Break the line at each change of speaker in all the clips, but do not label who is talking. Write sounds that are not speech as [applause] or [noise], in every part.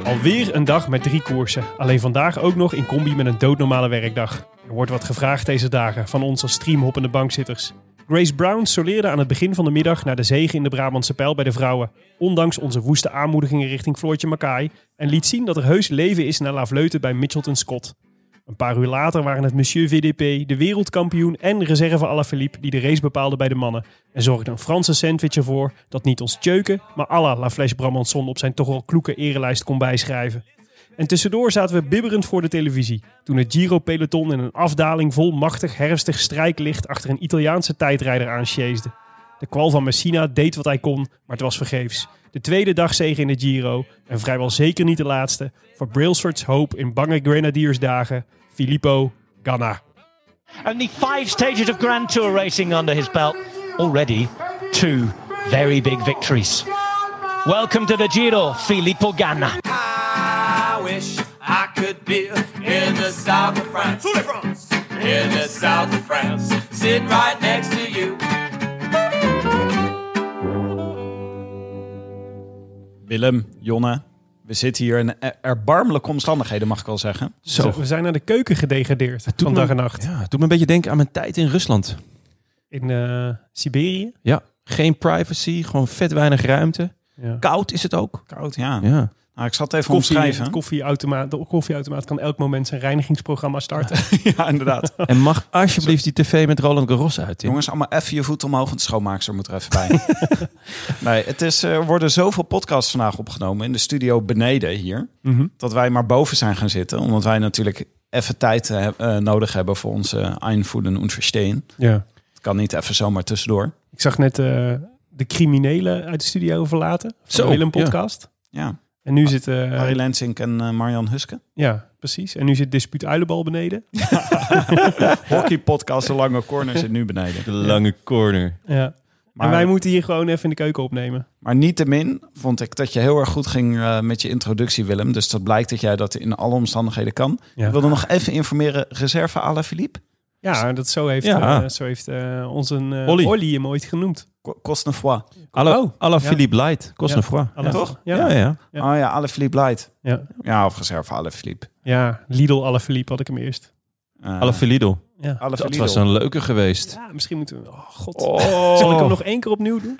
Alweer een dag met drie koersen. Alleen vandaag ook nog in combi met een doodnormale werkdag. Er wordt wat gevraagd deze dagen van ons als streamhoppende bankzitters. Grace Brown soleerde aan het begin van de middag naar de zege in de Brabantse pijl bij de vrouwen. Ondanks onze woeste aanmoedigingen richting Floortje Mackay. En liet zien dat er heus leven is na Lavleuten bij Mitchelton Scott. Een paar uur later waren het Monsieur VDP, de wereldkampioen en reserve Alaphilippe die de race bepaalde bij de mannen. En zorgde een Franse sandwich ervoor dat niet ons tjeuken, maar alla La Flèche Bramanson op zijn toch al kloeke erelijst kon bijschrijven. En tussendoor zaten we bibberend voor de televisie, toen het Giro-peloton in een afdaling vol machtig herfstig strijklicht achter een Italiaanse tijdrijder aansjeesde. De kwal van Messina deed wat hij kon, maar het was vergeefs. De tweede dagzege in de Giro, en vrijwel zeker niet de laatste, voor Brailsford's hoop in bange Grenadiersdagen, Filippo Ganna.
Only five stages of Grand Tour racing under his belt. Already two very big victories. Welcome to the Giro, Filippo Ganna.
I wish I could be in the south of France. In the south of France. Sitting right next to you.
Willem, Jonne, we zitten hier in er- erbarmelijke omstandigheden, mag ik wel zeggen.
Zo.
We zijn naar de keuken gedegradeerd, van dag en nacht.
Ja, het doet me een beetje denken aan mijn tijd in Rusland.
In eh, Siberië.
Ja, geen privacy, gewoon vet weinig ruimte.
Ja.
Koud is het ook.
Koud, ja.
Ja.
Nou, ik zat even
Koffie,
omschrijven.
het koffieautomaat, de koffieautomaat kan elk moment zijn reinigingsprogramma starten.
[laughs] ja, inderdaad.
En mag alsjeblieft die tv met Roland Garros uit. Tim.
Jongens, allemaal even je voet omhoog, want de schoonmaakster moet er even bij. [laughs] nee, het is, eh, er worden zoveel podcasts vandaag opgenomen in de studio beneden hier,
Mhm.
dat wij maar boven zijn gaan zitten. Omdat wij natuurlijk even tijd eh, eh, nodig hebben voor onze Einvoeden und Verstehen.
Ja.
Het kan niet even zomaar tussendoor.
Ik zag net eh, de criminelen uit de studio verlaten. Van
Zo,
de Willem podcast.
Ja,
En nu zit... eh,
Harry Lensink en eh, Marian Huske.
ja, precies. En nu zit Dispuut Uilenbal beneden.
Hockeypodcast De Lange Corner zit nu beneden.
De lange corner.
Ja.
Maar-
En wij moeten hier gewoon even in de keuken opnemen.
Maar niettemin vond ik dat je heel erg goed ging eh, met je introductie, Willem. Dus dat blijkt dat jij dat in alle omstandigheden kan.
Ja.
Ik wilde nog even informeren, reserve à la Philippe.
Ja, dat zo heeft,
Ja.
eh, zo heeft eh, onze eh,
Olly.
Olly hem ooit genoemd.
Co- Kost een fois.
Hallo,
Oh,
Alla
ja.
Philippe Light. Kost
Ja.
een fois.
Alla-
toch?
Ja.
Ja,
Ja.
ja.
Ja.
Oh ja, à la Philippe Light.
Ja.
Ja, of reserve à la Philippe.
Lidl alle had ik hem eerst.
Eh,
Alla Philippe.
Ja.
à la
Dat
Philippe.
was een leuke geweest.
Ja, misschien moeten we... Oh, god.
Oh.
[laughs] Zal ik hem nog één keer opnieuw doen?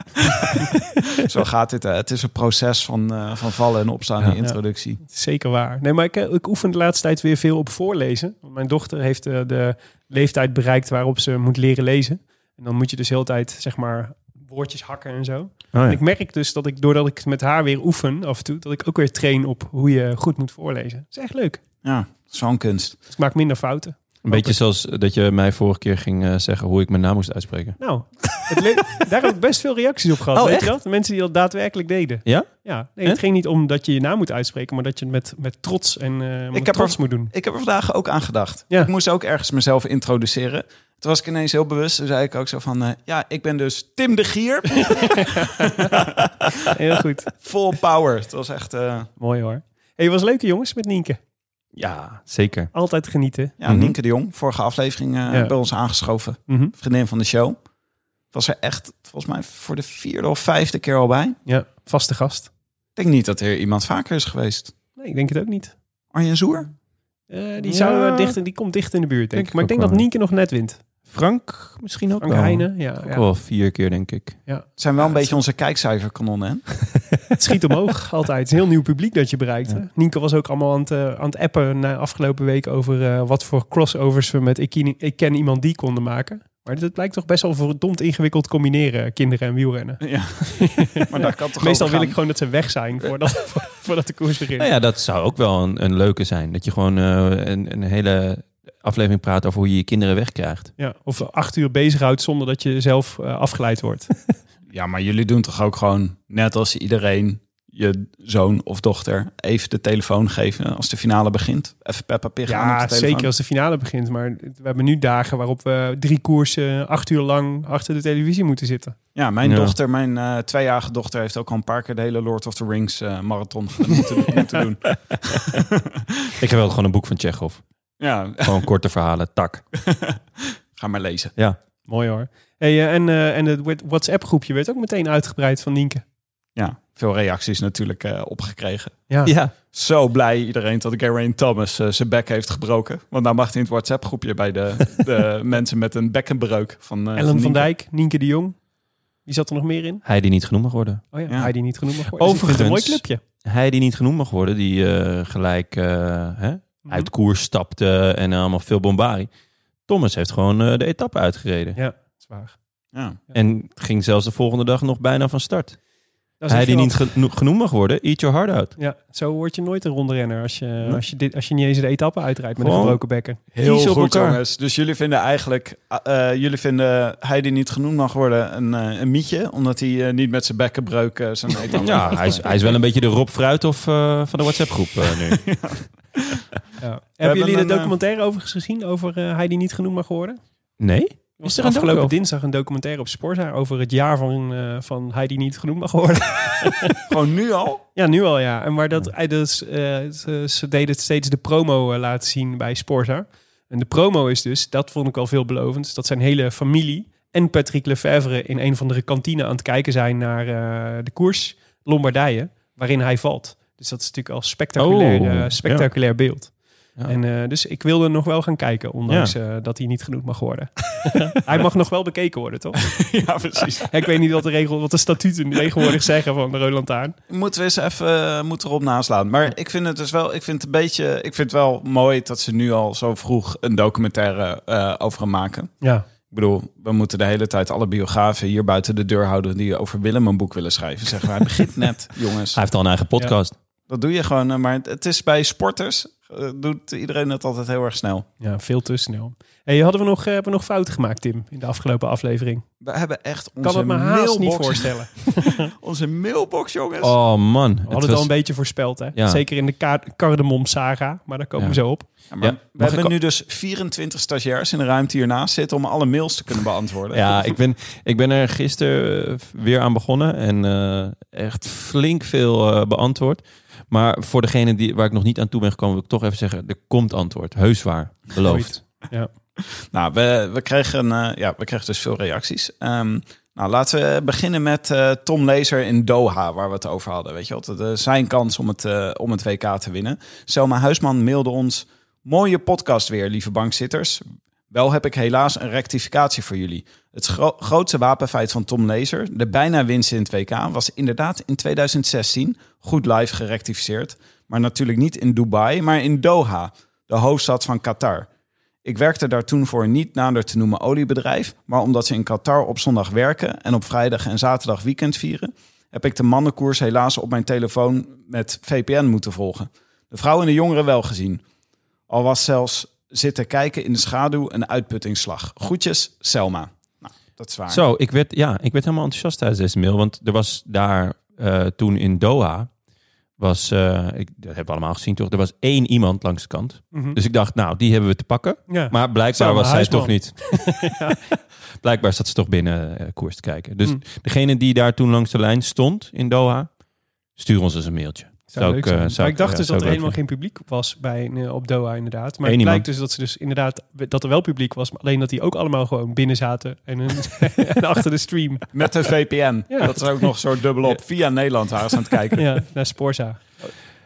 Zo gaat dit. hè. Het is een proces van, eh, van vallen en opstaan
Ja.
in introductie.
Zeker waar. Nee, maar ik, eh, ik oefen de laatste tijd weer veel op voorlezen. Want Mijn dochter heeft eh, de leeftijd bereikt waarop ze moet leren lezen. En dan moet je dus de hele tijd, zeg maar, woordjes hakken en zo.
Oh,
En ik merk dus dat ik, doordat ik het met haar weer oefen af en toe, dat ik ook weer train op hoe je goed moet voorlezen. Dat is echt leuk.
Ja, zo'n kunst.
Dus ik maak minder fouten.
Een beetje zoals dat je mij vorige keer ging eh, zeggen hoe ik mijn naam moest uitspreken.
Nou, het le- daar heb ik best veel reacties op gehad.
Oh,
weet
echt?
je dat? Mensen die dat daadwerkelijk deden.
Ja?
Ja, nee, het
En?
ging niet om dat je je naam moet uitspreken, maar dat je het met, met trots en eh met
Ik heb
trots
er-
moet
[laughs]
doen.
Ik heb er vandaag ook aan gedacht.
Ja.
Ik moest ook ergens mezelf introduceren. Toen was ik ineens heel bewust. Toen zei ik ook zo van... eh, ja, ik ben dus Tim de
[laughs]
Gier.
Heel goed.
Full power. Het was echt... eh,
Mooi hoor. Hey, was leuke jongens met Nienke.
Ja, zeker.
Altijd genieten.
ja,
Mhm.
Nienke de Jong. Vorige aflevering eh,
Ja.
bij ons aangeschoven.
Mhm.
Vriendin van de show. Was er echt volgens mij voor de vierde of vijfde keer al bij.
Ja, vaste gast.
Ik denk niet dat er iemand vaker is geweest.
Nee, ik denk het ook niet.
Arjen Zoer?
Eh, die,
Ja.
zou, eh, dicht, die komt dicht in de buurt, denk
Denk
ik.
ik
Maar ik
ook
denk dat
wel.
Nienke nog net wint.
Frank misschien ook
Frank
wel.
Heijnen, ja.
Ook
ja.
wel vier keer, denk ik.
Het zijn wel een beetje onze kijkcijferkanonnen, hè?
Het schiet [laughs] omhoog altijd. Het is een heel nieuw publiek dat je bereikt. hè? Nienke was ook allemaal aan het, eh, aan het appen na afgelopen week over eh, wat voor crossovers we met ik, Ken- ik ken iemand die konden maken. Maar dit blijkt toch best wel verdomd ingewikkeld combineren, kinderen en wielrennen.
[laughs] Ja. [laughs] maar daar kan toch
Meestal wil
over gaan.
ik gewoon dat ze weg zijn voordat, [laughs] voordat de koers begint.
Nou ja, dat zou ook wel een, een leuke zijn. Dat je gewoon eh, een, een hele aflevering praat over hoe je je kinderen wegkrijgt.
Ja, of acht uur bezighoudt zonder dat je zelf eh, afgeleid wordt.
Ja, maar jullie doen toch ook gewoon, net als iedereen, je zoon of dochter even de telefoon geven als de finale begint? Even Peppa Pig aan
Ja,
op de telefoon.
zeker als de finale begint. Maar we hebben nu dagen waarop we drie koersen eh, acht uur lang achter de televisie moeten zitten.
Ja, mijn
Ja.
dochter, mijn eh, tweejarige dochter, heeft ook al een paar keer de hele Lord of the Rings eh, marathon moeten, moeten [laughs] doen.
Ik heb wel gewoon een boek van Chekhov.
Ja,
Gewoon korte verhalen, tak.
ga maar lezen.
Mooi hoor. Hey, eh, en, eh, en het WhatsApp-groepje werd ook meteen uitgebreid van Nienke.
Ja, veel reacties natuurlijk eh, opgekregen.
Ja.
Ja,
Zo blij iedereen dat Geraint Thomas eh, zijn bek heeft gebroken. Want nou mag hij in het WhatsApp-groepje bij de, de mensen met een bekkenbreuk van eh,
Ellen van
Nienke.
Dijk, Nienke de Jong. Wie zat er nog meer in?
hij die niet genoemd mag worden.
Oh ja,
Ja.
Heidi niet genoemd. mag worden.
Overigens-
Dus ik vind het een mooi clubje.
Hij die niet genoemd mag worden, die eh, gelijk eh, hè, uit koers stapte en allemaal veel bombarie. Thomas heeft gewoon eh, de etappe uitgereden.
Ja, zwaar.
Ja.
En ging zelfs de volgende dag nog bijna van start.
Dat is
Hij die
echt
niet geno- genoemd mag worden, eat your heart out.
wel- Ja, zo word je nooit een rondrenner als je, als je, dit, als je niet eens de etappe uitrijdt met een
Gewoon-
gebroken bekken.
Heel
Kies op
goed,
elkaar.
jongens. Dus jullie vinden eigenlijk, eh, eh, jullie vinden hij die niet genoemd mag worden een, eh, een mietje, omdat hij eh, niet met zijn bekkenbreuk eh, zijn eten.
Ja, hij is, hij is wel een beetje de Rob Fruithof eh, van de WhatsApp-groep eh,
[laughs]
nu.
Hebben jullie de
een, eh,
documentaire overigens gezien over eh, Heidi niet genoemd mag worden?
Nee?
Er was
Is er een
afgelopen
docu over?
dinsdag een documentaire op Sporza over het jaar van, eh, van Heidi niet genoemd mag worden.
Gewoon nu al?
ja, nu al ja. En maar dat, eh, dus, eh, ze, ze deden steeds de promo eh, laten zien bij Sporza. En de promo is dus, dat vond ik al veelbelovend, dat zijn hele familie en Patrick Lefevre in een van de kantine aan het kijken zijn naar eh, de koers Lombardije, waarin hij valt. Dus dat is natuurlijk al spectaculair,
Oh,
eh,
ja.
spectaculair beeld.
Ja.
En, eh, dus ik wilde nog wel gaan kijken, ondanks eh, dat hij niet genoemd mag
[laughs]
worden. hij mag nog wel bekeken worden, toch?
ja, precies.
[laughs] Ja, ik weet niet wat de, regel, wat de
[laughs]
statuten tegenwoordig zeggen van de Roland Taan.
Moeten we eens even eh, moeten erop naslaan. Maar ik vind het dus wel, ik vind het een beetje, ik vind het wel mooi dat ze nu al zo vroeg een documentaire eh, over hem maken.
Ja.
Ik bedoel, we moeten de hele tijd alle biografen hier buiten de deur houden die over Willem een boek willen schrijven. Zeggen wij, begint [laughs] net, jongens.
Hij heeft al een eigen podcast.
Dat doe je gewoon, eh, maar het- het is bij sporters, eh, doet iedereen het altijd heel erg snel.
ja, veel te snel. Hey, hadden we nog, eh, hebben we nog fouten gemaakt, Tim, in de afgelopen aflevering?
We hebben echt onze
Kan het me haast niet
[laughs]
mailbox,
voorstellen.
onze mailbox jongens.
Oh man.
We hadden het al een beetje voorspeld, hè?
Ja.
Zeker in de ka- cardamom saga, maar daar komen we
Ja.
zo op.
Ja, maar
ja,
we
mag
hebben
ik-
nu dus 24 stagiairs in de ruimte hiernaast zitten om alle mails te kunnen beantwoorden.
Ja, ik ben, ik ben er gisteren eh, weer aan begonnen en eh, echt flink veel eh, beantwoord. Maar voor degene die, waar ik nog niet aan toe ben gekomen, wil ik toch even zeggen, er komt antwoord. Heus waar. Beloofd.
Nou, we, we, kregen, eh, ja, we kregen dus veel reacties. Ehm, nou, laten we beginnen met eh, Tom Lezer in Doha, waar we het over hadden. Weet je wel, Dat, eh, zijn kans om het, eh, om het WK te winnen. Selma Huisman mailde ons: Mooie podcast weer, lieve bankzitters. Wel heb ik helaas een rectificatie voor jullie. Het gro- grootste wapenfeit van Tom Lezer, de bijna winst in het WK, was inderdaad in 2016 goed live gerectificeerd. Maar natuurlijk niet in Dubai, maar in Doha, de hoofdstad van Qatar. Ik werkte daar toen voor een niet nader te noemen oliebedrijf, maar omdat ze in Qatar op zondag werken en op vrijdag en zaterdag weekend vieren, heb ik de mannenkoers helaas op mijn telefoon met VPN moeten volgen. De vrouwen en de jongeren wel gezien. Al was zelfs zitten kijken in de schaduw een uitputtingsslag. Groetjes, Selma. Nou, dat is waar.
Zo, ik werd, ja, ik werd helemaal enthousiast tijdens deze mail. Want er was daar eh, toen in Doha, was, eh, ik, dat hebben we allemaal gezien toch, er was één iemand langs de kant.
Mhm.
Dus ik dacht, nou, die hebben we te pakken.
Ja.
Maar blijkbaar
Selma
was zij
Huisman.
toch niet. [laughs] Blijkbaar zat ze toch binnen eh, koers te kijken. Dus degene die daar toen langs de lijn stond in Doha, stuur ons eens een mailtje. Zou
leuk
ik, eh,
zijn.
zou
Maar
ik-
ik dacht
ja,
dus
zou
dat er
ik leuk
helemaal geen publiek was bij, eh, op Doha inderdaad. Maar
Eén
het
iemand.
blijkt dus dat, ze dus inderdaad, dat er wel publiek was. Maar alleen dat die ook allemaal gewoon binnen zaten. En, hun- [laughs] en achter de stream
Met de VPN.
Ja.
Dat is ook nog zo dubbelop. Via Nederland waren ze aan het kijken.
ja, naar Sporza.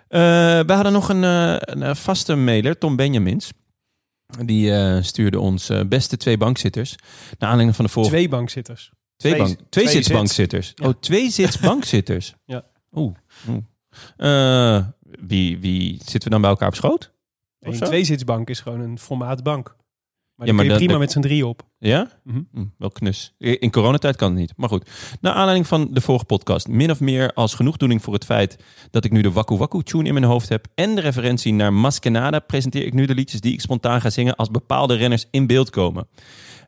Eh, we hadden nog een, eh, een eh, vaste mailer, Tom Benjamins. Die eh, stuurde ons eh, beste twee bankzitters. Naar aanleiding van de vorige...
Twee bankzitters.
Twee,
Twee-
bank, twee,
twee
zits
zits.
bankzitters. Oh, twee zits bankzitters.
Ja.
Oeh. oeh. Eh, wie, wie zitten we dan bij elkaar op schoot?
Een
zo?
tweezitsbank is gewoon een formaatbank. Maar
Ja,
die
maar
kun je
dat-
prima
dat-
met z'n drie op.
Ja?
Mhm.
Hm, wel knus. In coronatijd kan het niet. Maar goed. Naar aanleiding van de vorige podcast. Min of meer als genoegdoening voor het feit dat ik nu de Waku Waku tune in mijn hoofd heb. En de referentie naar Maskenada presenteer ik nu de liedjes die ik spontaan ga zingen als bepaalde renners in beeld komen.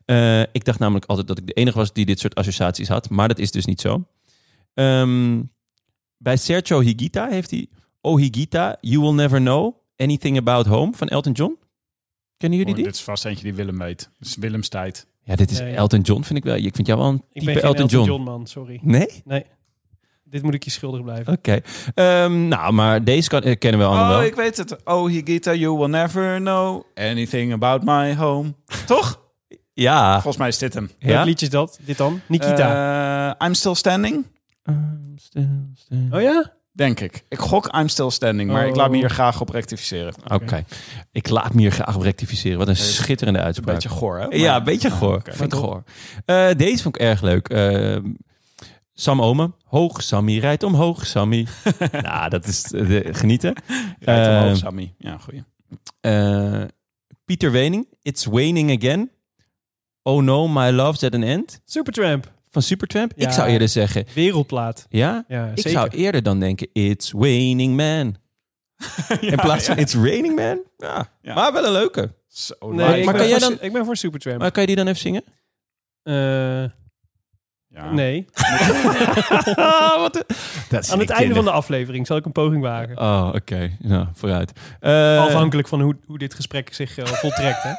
Eh, ik dacht namelijk altijd dat ik de enige was die dit soort associaties had. Maar dat is dus niet zo. Ehm, bij Sergio Higuita heeft hij... Oh Higuita, you will never know anything about home van Elton John. Kennen jullie die?
Oh, dit is vast eentje die Willem weet. Dus Willems tijd.
Ja, dit is
Nee.
Elton John, vind ik wel. Ik vind jou wel een
Ik
type
ben geen
Elton, John.
man, sorry.
Nee?
Dit moet ik je schuldig blijven.
Oké. Ehm, nou, maar deze kan, eh, kennen we allemaal
Oh,
wel.
ik weet het. Oh, Higita, you will never know anything about my home. [laughs] Toch?
Ja.
Volgens mij is dit hem.
Welk
ja.
liedje is dat? Dit dan? Nikita.
Eh, I'm Still Standing,
I'm still standing.
oh ja?
denk ik. Ik gok I'm Still Standing, maar ik laat me hier graag op rectificeren.
Oké. Ik laat me hier graag op rectificeren. Wat een schitterende
Een
uitspraak.
beetje goor, hè?
ja, een beetje goor.
oké.
Vind ik goor. Eh, deze vond ik erg leuk. Ehm, Sam Omen. Hoog Sammy, rijdt omhoog Sammy. nou, dat is eh, de- genieten.
Rijdt omhoog,
Ehm,
Sammy. Ja, goeie.
Eh, Pieter Wening. It's waning again. Oh no, my love's at an end.
Supertramp.
Van Supertramp.
Ja.
Ik zou eerder zeggen,
Wereldplaat.
ja,
Ja,
Ik
zeker.
zou eerder dan denken, it's raining man. In plaats van it's raining man. Ja.
Ja.
Maar wel een leuke.
Zo
Nee,
live.
ik,
maar
ben
kan jij
voor
dan-
su- ik ben voor Supertramp.
Maar kan je die dan even zingen?
Eh,
Ja.
Nee.
Dat is
Aan het einde van de aflevering zal ik een poging wagen.
Oh, oké. Nou, vooruit. Eh,
Afhankelijk van hoe, hoe dit gesprek zich eh, voltrekt. Hè?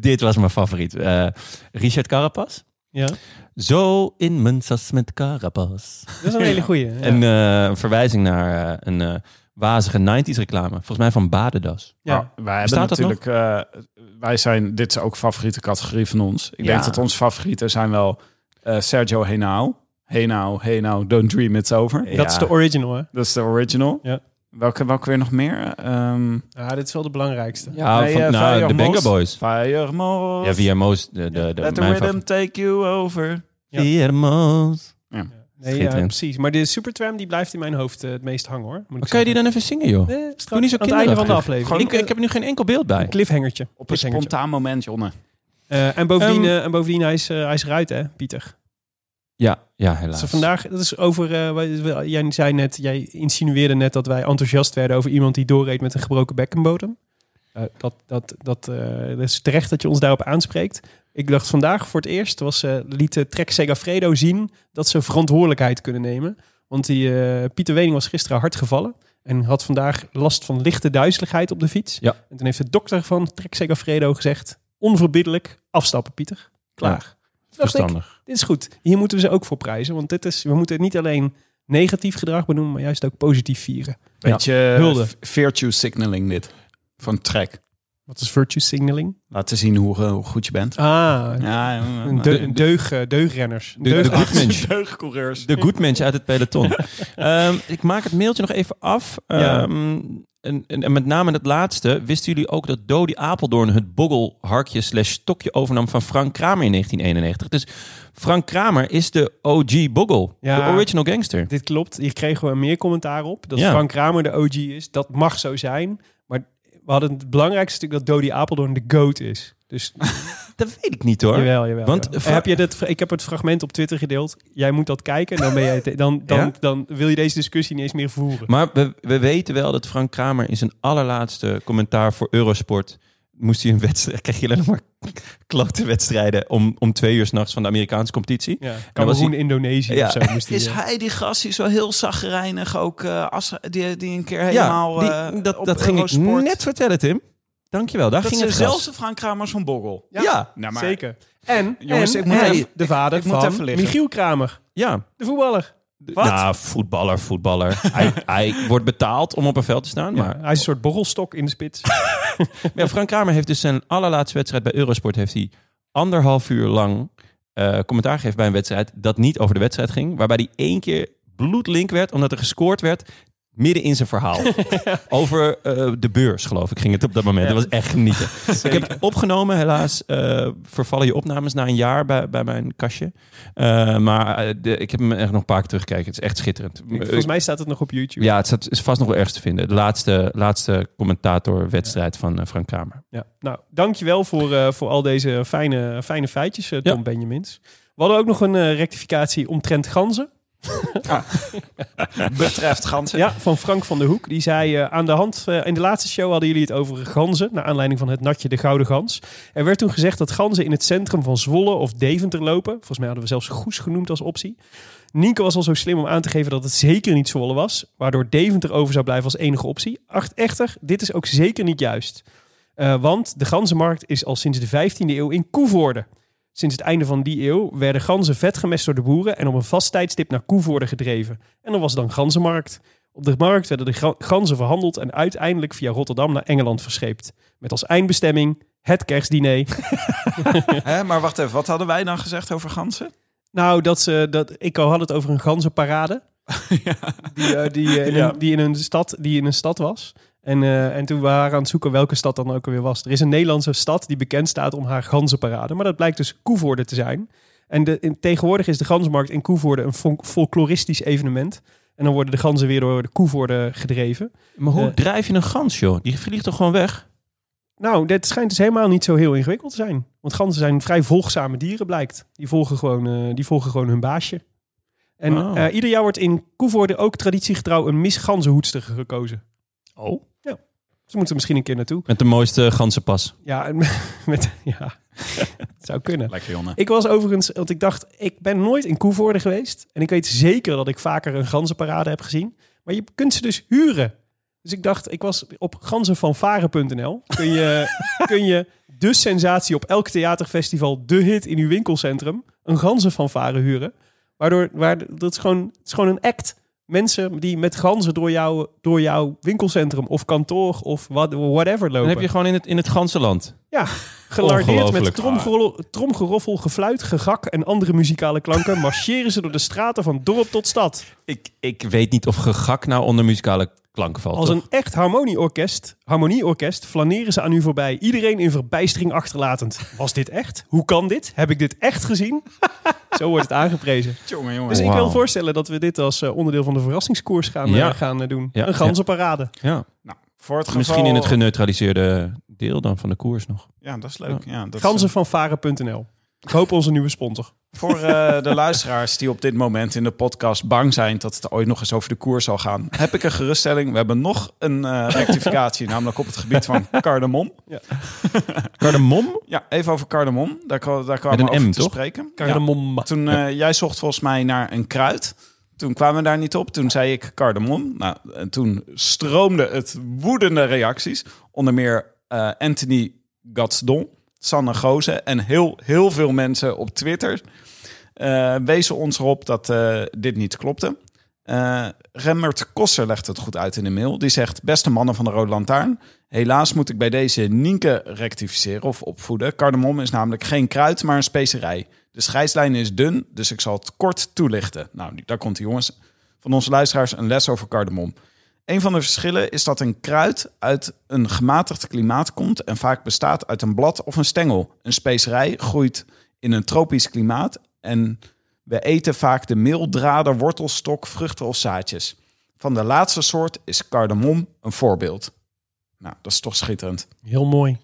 dit was mijn favoriet. Eh, Richard Carapas.
Ja. Dat
Zo in mijn sas met Carapas.
is een hele goeie. Ja.
En eh, een verwijzing naar eh, een eh, wazige 90s reclame. Volgens mij van Badendas.
ja.
Maar Oh, wij hebben
Bestaat dat
natuurlijk, eh, wij zijn, dit is ook favoriete categorie van ons. Ik
Ja.
denk dat onze favorieten zijn wel eh, Sergio Henao. Henao, Henao, Don't Dream It's Over.
Dat is de original, hè?
Dat is de original.
Ja.
Welke, welke weer nog meer? Ehm
Ah, dit is wel de belangrijkste.
Ja,
bij,
van,
eh,
nou, de
Fire
Benga
Most.
Boys.
Fire Most.
Ja, via Moos. De, de, de,
Let the
mijn
rhythm
favoriet.
take you over.
Ja.
Via Moos.
Nee, ja,
Schitterend.
precies. Maar de Supertram die blijft in mijn hoofd eh, het meest hangen, hoor. Moet
Maar kan je die dan even zingen, joh?
Nee, straks,
niet zo
aan het einde van de
kinderachtig.
aflevering. eh,
Gewoon-
ik, ik heb er nu geen enkel beeld bij.
Een cliffhangertje.
Op een
Cliffhangertje.
spontaan moment, Jonne.
Eh, en, bovendien,
Ehm,
eh, en bovendien, hij is, eh, hij is eruit, hè, Pieter?
Ja, ja
Dat
helaas.
is vandaag, dat is over, eh, wat- jij zei net, jij insinueerde net dat wij enthousiast werden over iemand die doorreed met een gebroken bekkenbodem. Eh, dat, dat, dat, eh, dat is terecht dat je ons daarop aanspreekt. Ik dacht vandaag voor het eerst, was, eh, liet eh, Trek Segafredo zien dat ze verantwoordelijkheid kunnen nemen. Want die, eh, Pieter Wening was gisteren hard gevallen en had vandaag last van lichte duizeligheid op de fiets.
Ja.
En toen heeft de dokter van Trek Segafredo gezegd, onverbiddelijk afstappen Pieter, klaar. Toen dacht ik,
Verstandig.
dit is goed. Hier moeten we ze ook voor prijzen. Want dit is, we moeten het niet alleen negatief gedrag benoemen, maar juist ook positief vieren.
Beetje
Hulde.
v- virtue signaling dit. Van track.
Wat is virtue signaling?
Laten zien hoe, eh, hoe goed je bent.
Ah,
Ja, ja,
een
ja.
deug, een deug, eh, deugrenners.
De, de,
[laughs]
good mensch.
Deugdcoureurs.
De good mensch uit het peloton. Ehm, ik maak het mailtje nog even af.
Ja.
Ehm, en, en, en met name het laatste. Wisten jullie ook dat Dodi Apeldoorn het boggelharkje slash stokje overnam van Frank Kramer in 1991? Dus Frank Kramer is de OG boggel.
Ja.
De original gangster.
Dit klopt. Hier kregen we meer commentaar op. Dat
Ja.
Frank Kramer de OG is. Dat mag zo zijn. Maar we hadden het belangrijkste natuurlijk dat Dodi Apeldoorn de GOAT is. Dus
Dat weet ik niet hoor.
jawel, jawel.
Want
jawel.
Fra-
heb je dit, ik heb het fragment op Twitter gedeeld. Jij moet dat kijken. Dan, ben jij het- dan, dan,
Ja?
dan wil je deze discussie niet eens meer voeren.
Maar we, we weten wel dat Frank Kramer in zijn allerlaatste commentaar voor Eurosport moest hij een wedstrijd, kreeg je alleen maar klote wedstrijden om, om twee uur s'nachts van de Amerikaanse competitie.
Ja,
dan was
Cameroen,
hij-
Indonesië
Ja.
of zo. Moest
Is
die, eh,
hij die gast die zo heel zagrijnig ook, eh, als, die, die een keer
Ja,
helemaal
die-
eh,
dat,
op
dat ging ik
Eurosport-
net vertellen, Tim. Dankjewel, daar
Dat
ging
ging
het zelfs.
zelfs de Frank Kramers van Borrel.
Ja,
Ja.
ja,
Nou,
Zeker. En,
Jongens,
en
ik moet
hij,
even-
de vader
ik moet
van
even liggen.
Michiel Kramer, de voetballer.
Wat? Nou, voetballer, voetballer.
[laughs]
hij, hij wordt betaald om op een veld te staan.
Ja,
Maar
hij is een soort borrelstok in de spits.
Ja, Frank Kramer heeft dus zijn allerlaatste wedstrijd bij Eurosport... heeft hij anderhalf uur lang eh, commentaar gegeven bij een wedstrijd... dat niet over de wedstrijd ging. Waarbij hij één keer bloedlink werd... omdat er gescoord werd midden in zijn verhaal. over eh, de beurs, geloof ik, ging het op dat moment. Dat was echt genieten. ik heb het opgenomen, helaas eh, vervallen je opnames na een jaar bij, bij mijn kastje. Eh, maar eh, de, ik heb hem echt nog een paar keer teruggekeken. Het is echt schitterend. Eh,
Volgens mij staat het nog op YouTube.
Ja, het staat- is vast nog wel ergens te vinden. De laatste, laatste commentatorwedstrijd van eh, Frank Kramer.
Ja. Nou, dankjewel voor, eh, voor al deze fijne, fijne feitjes, eh, Tom
Ja.
Benjamins. We hadden ook nog een eh, rectificatie omtrent ganzen.
Betreft ganzen.
Ja, van Frank van der Hoek. Die zei eh, aan de hand, eh, in de laatste show hadden jullie het over ganzen, naar aanleiding van het natje de Gouden Gans. Er werd toen gezegd dat ganzen in het centrum van Zwolle of Deventer lopen. Volgens mij hadden we zelfs Goes genoemd als optie. Nienke was al zo slim om aan te geven dat het zeker niet Zwolle was, waardoor Deventer over zou blijven als enige optie. Acht echter, dit is ook zeker niet juist. Eh, want de ganzenmarkt is al sinds de 15e eeuw in Koevoorde. Sinds het einde van die eeuw werden ganzen vet gemest door de boeren en op een vast tijdstip naar Koevoorde gedreven. En er was dan ganzenmarkt. Op de markt werden de gra- ganzen verhandeld en uiteindelijk via Rotterdam naar Engeland verscheept. Met als eindbestemming het kerstdiner. [laughs]
Hè, maar wacht even, wat hadden wij dan gezegd over ganzen?
nou, dat ze, dat, ik had het over een ganzenparade. Die, eh, die, eh, in
Ja.
een, die, in een stad, die in een stad was. En, eh, en toen waren we aan het zoeken welke stad dan ook alweer was. Er is een Nederlandse stad die bekend staat om haar ganzenparade. Maar dat blijkt dus Koevoorde te zijn. En de, in- tegenwoordig is de ganzenmarkt in Koevoorde een fol- folkloristisch evenement. En dan worden de ganzen weer door de Koevoorde gedreven.
Maar hoe
Eh.
drijf je een gans, joh? Die vliegt toch gewoon weg?
Nou, dit schijnt dus helemaal niet zo heel ingewikkeld te zijn. Want ganzen zijn vrij volgzame dieren, blijkt. Die volgen gewoon, eh, die volgen gewoon hun baasje. En
Oh.
eh, ieder jaar wordt in Koevoorde ook traditiegetrouw een misganzenhoedster gekozen.
Oh.
Ja. Ze moeten misschien een keer naartoe.
Met de mooiste ganzenpas.
Ja, en [laughs] met, ja. [laughs] het zou kunnen.
Lekker jongen.
Ik was overigens, want ik dacht, ik ben nooit in Koevoorde geweest. En ik weet zeker dat ik vaker een ganzenparade heb gezien. Maar je kunt ze dus huren. Dus ik dacht, ik was op ganzenvanvaren.nl. Kun je,
[laughs]
kun je de sensatie op elk theaterfestival, de hit in uw winkelcentrum, een ganzenfanfare huren. Waardoor, waar, dat is gewoon, het is gewoon een act. Mensen die met ganzen door, jou, door jouw winkelcentrum of kantoor of wat- whatever
Dan
lopen.
heb je gewoon in het, in het ganzenland.
Ja, gelardeerd met
Ongelooflijk.
tromgeroffel, tromgeroffel, gefluit, gegak en andere muzikale
[laughs]
klanken marcheren ze door de straten van dorp tot stad.
Ik, ik weet niet of gegak nou onder muzikale klanken valt.
Als
toch?
een echt harmonieorkest, harmonieorkest flaneren ze aan u voorbij, iedereen in verbijstering achterlatend. Was dit echt? Hoe kan dit? Heb ik dit
[laughs]
echt gezien? Zo wordt het aangeprezen.
Jongen, jongen.
Dus ik
Oh, Wauw.
wil voorstellen dat we dit als eh, onderdeel van de verrassingskoers gaan, eh,
Ja.
gaan eh, doen.
Ja,
Een ganzenparade.
ja.
Nou, voor het geval,
Misschien in het geneutraliseerde deel dan van de koers nog.
Ja, dat is leuk. Ja, dat is- eh,
Ganzenvanvaren.nl. Ik hoop onze nieuwe sponsor.
[laughs] Voor eh, de luisteraars die op dit moment in de podcast bang zijn dat het ooit nog eens over de koers zal gaan, heb ik een geruststelling. We hebben nog een eh, rectificatie, [laughs] namelijk op het gebied
[laughs]
van cardamom.
[laughs]
Cardamom?
Ja, even over cardamom. Daar, kwa- daar kwamen
Met
we
een
over
M,
te
toch?
spreken. Ja.
Cardamom.
Toen eh, jij zocht volgens mij naar een kruid. Toen kwamen we daar niet op. Toen zei ik cardamom. Nou, en toen stroomde het woedende reacties. Onder meer eh, Anthony Gadsdon, Sanne Gozen en heel, heel veel mensen op Twitter eh, wezen ons erop dat eh, dit niet klopte. Eh Remmert Kosser legt het goed uit in de mail. Die zegt, beste mannen van de Rode Lantaarn... helaas moet ik bij deze Nienke rectificeren of opvoeden. Cardamom is namelijk geen kruid, maar een specerij. De scheidslijn is dun, dus ik zal het kort toelichten. Nou, die- daar komt die jongens van onze luisteraars een les over cardamom. Een van de verschillen is dat een kruid uit een gematigd klimaat komt en vaak bestaat uit een blad of een stengel. Een specerij groeit in een tropisch klimaat en we eten vaak de meeldraden, wortelstok, vruchten of zaadjes. Van de laatste soort is cardamom een voorbeeld. Nou, dat is toch schitterend.
Heel mooi.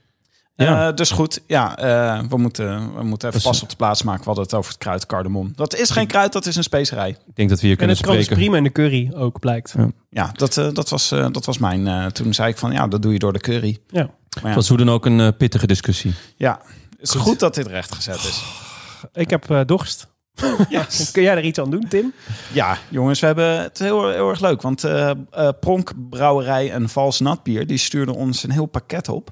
Ja.
Eh, dus goed, ja, eh, we, moeten, we moeten even pas op de plaats maken. We hadden het over het kruid cardamom. Dat is geen kruid, dat is een specerij.
Ik denk dat we hier
En
kunnen
het trouwens
spreken.
prima in de curry ook, blijkt.
Ja, dat, eh, dat, was, eh, dat was mijn... eh, toen zei ik van, ja, dat doe je door de curry.
Ja.
ja.
Het was hoe dan ook een eh, pittige discussie.
Ja, het is goed, dat dit recht gezet is. [laughs]
Ik heb eh, dorst. Kun jij er iets aan doen, Tim?
Ja, jongens, we hebben het heel, heel erg leuk. Want eh eh, Pronkbrouwerij en Vals Natbier... die stuurden ons een heel pakket op.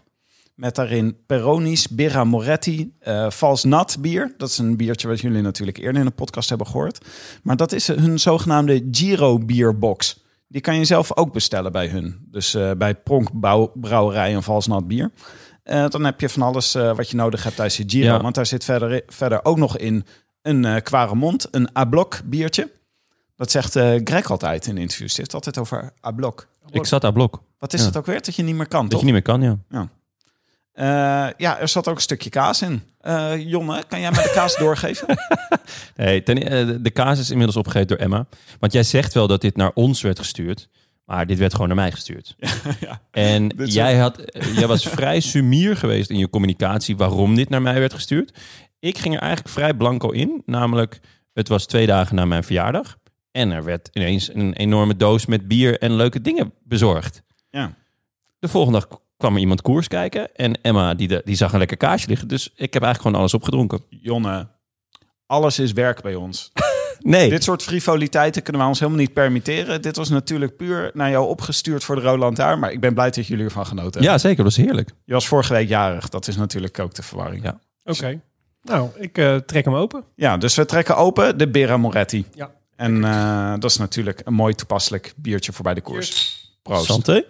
Met daarin Peronis, Birra Moretti, eh Vals Nat bier. Dat is een biertje wat jullie natuurlijk eerder in de podcast hebben gehoord. Maar dat is hun zogenaamde Giro bierbox. Die kan je zelf ook bestellen bij hun. Dus eh, bij Pronkbrouwerij en Vals Nat bier. Eh, dan heb je van alles eh, wat je nodig hebt tijdens je Giro.
Ja.
Want daar zit verder, verder ook nog in een eh Quaremont, een Ablok biertje. Dat zegt eh, Greg altijd in interviews. Hij heeft het altijd over Ablok.
Ik zat aan blok.
Wat is
Ja.
het ook weer? Dat je niet meer kan,
Dat
toch?
je niet meer kan, ja.
Eh, ja, er zat ook een stukje kaas in. Eh, Jonne, kan jij mij de
[laughs]
kaas doorgeven?
Hey, ten- eh, de kaas is inmiddels opgegeten door Emma. Want jij zegt wel dat dit naar ons werd gestuurd. Maar dit werd gewoon naar mij
[laughs]
gestuurd. En
Dit is
jij, had, eh, jij
[laughs]
was vrij sumier geweest in je communicatie waarom dit naar mij werd gestuurd. Ik ging er eigenlijk vrij blanco in. Namelijk, het was twee dagen na mijn verjaardag. En er werd ineens een enorme doos met bier en leuke dingen bezorgd.
Ja.
De volgende dag kwam er iemand koers kijken. En Emma die, de- die zag een lekker kaasje liggen. Dus ik heb eigenlijk gewoon alles opgedronken.
Jonne, alles is werk bij ons.
Nee.
Dit soort frivoliteiten kunnen we ons helemaal niet permitteren. Dit was natuurlijk puur naar jou opgestuurd voor de Roland daar. Maar ik ben blij dat jullie ervan genoten hebben.
Ja, zeker. Dat was heerlijk.
Je was vorige week jarig. Dat is natuurlijk ook de verwarring.
Ja.
Oké. Nou, ik eh, trek hem open.
Ja, dus we trekken open de Bera Moretti.
Ja.
En eh, dat is natuurlijk een mooi toepasselijk biertje voor bij de koers. Proost.
Santé.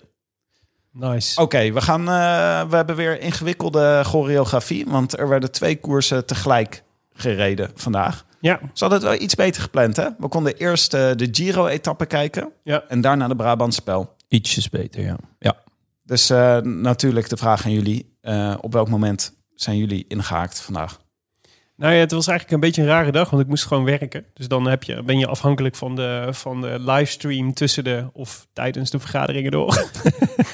Nice.
Oké, we gaan. eh, we hebben weer ingewikkelde choreografie. Want er werden twee koersen tegelijk gereden vandaag.
Ja,
Ze hadden het wel iets beter gepland, hè? We konden eerst eh, de Giro-etappe kijken.
Ja.
En daarna de Brabantspel.
Ietsjes beter, ja. ja.
Dus eh, natuurlijk de vraag aan jullie. eh, op welk moment zijn jullie ingehaakt vandaag?
Nou ja, het was eigenlijk een beetje een rare dag, want ik moest gewoon werken. Dus dan heb je, ben je afhankelijk van de, van de livestream tussen de of tijdens de vergaderingen door. [laughs]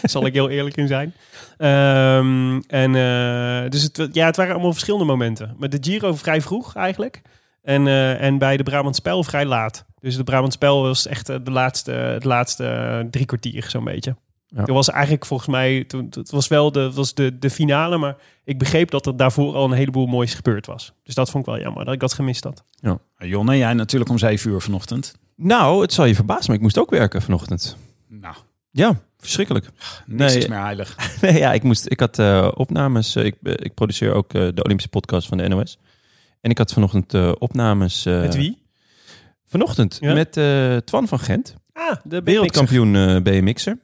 Zal ik heel eerlijk in zijn. Ehm, en eh, dus het, wa- ja, het waren allemaal verschillende momenten. Met de Giro vrij vroeg eigenlijk. En, eh, en bij de Brabantspel vrij laat. Dus de Brabantspel was echt eh, de laatste, het laatste eh, drie kwartier zo'n beetje.
Ja.
Er was eigenlijk volgens mij, toen, het was wel de, het was de, de finale, maar ik begreep dat er daarvoor al een heleboel moois gebeurd was. Dus dat vond ik wel jammer, dat ik dat gemist had.
Jonne, jij natuurlijk om 7 uur vanochtend.
Nou, het zal je verbazen, maar ik moest ook werken vanochtend.
Nou,
Ja, verschrikkelijk. [laughs]
niks
Nee.
is meer heilig.
Nee, ja, ik, moest, ik had eh, opnames. eh, ik, eh, ik produceer ook eh, de Olympische podcast van de NOS. En ik had vanochtend eh, opnames. eh,
Met wie?
Vanochtend
Ja.
met eh, Twan van Gent,
Ah, de wereldkampioen.
wereldkampioen eh BMX'er.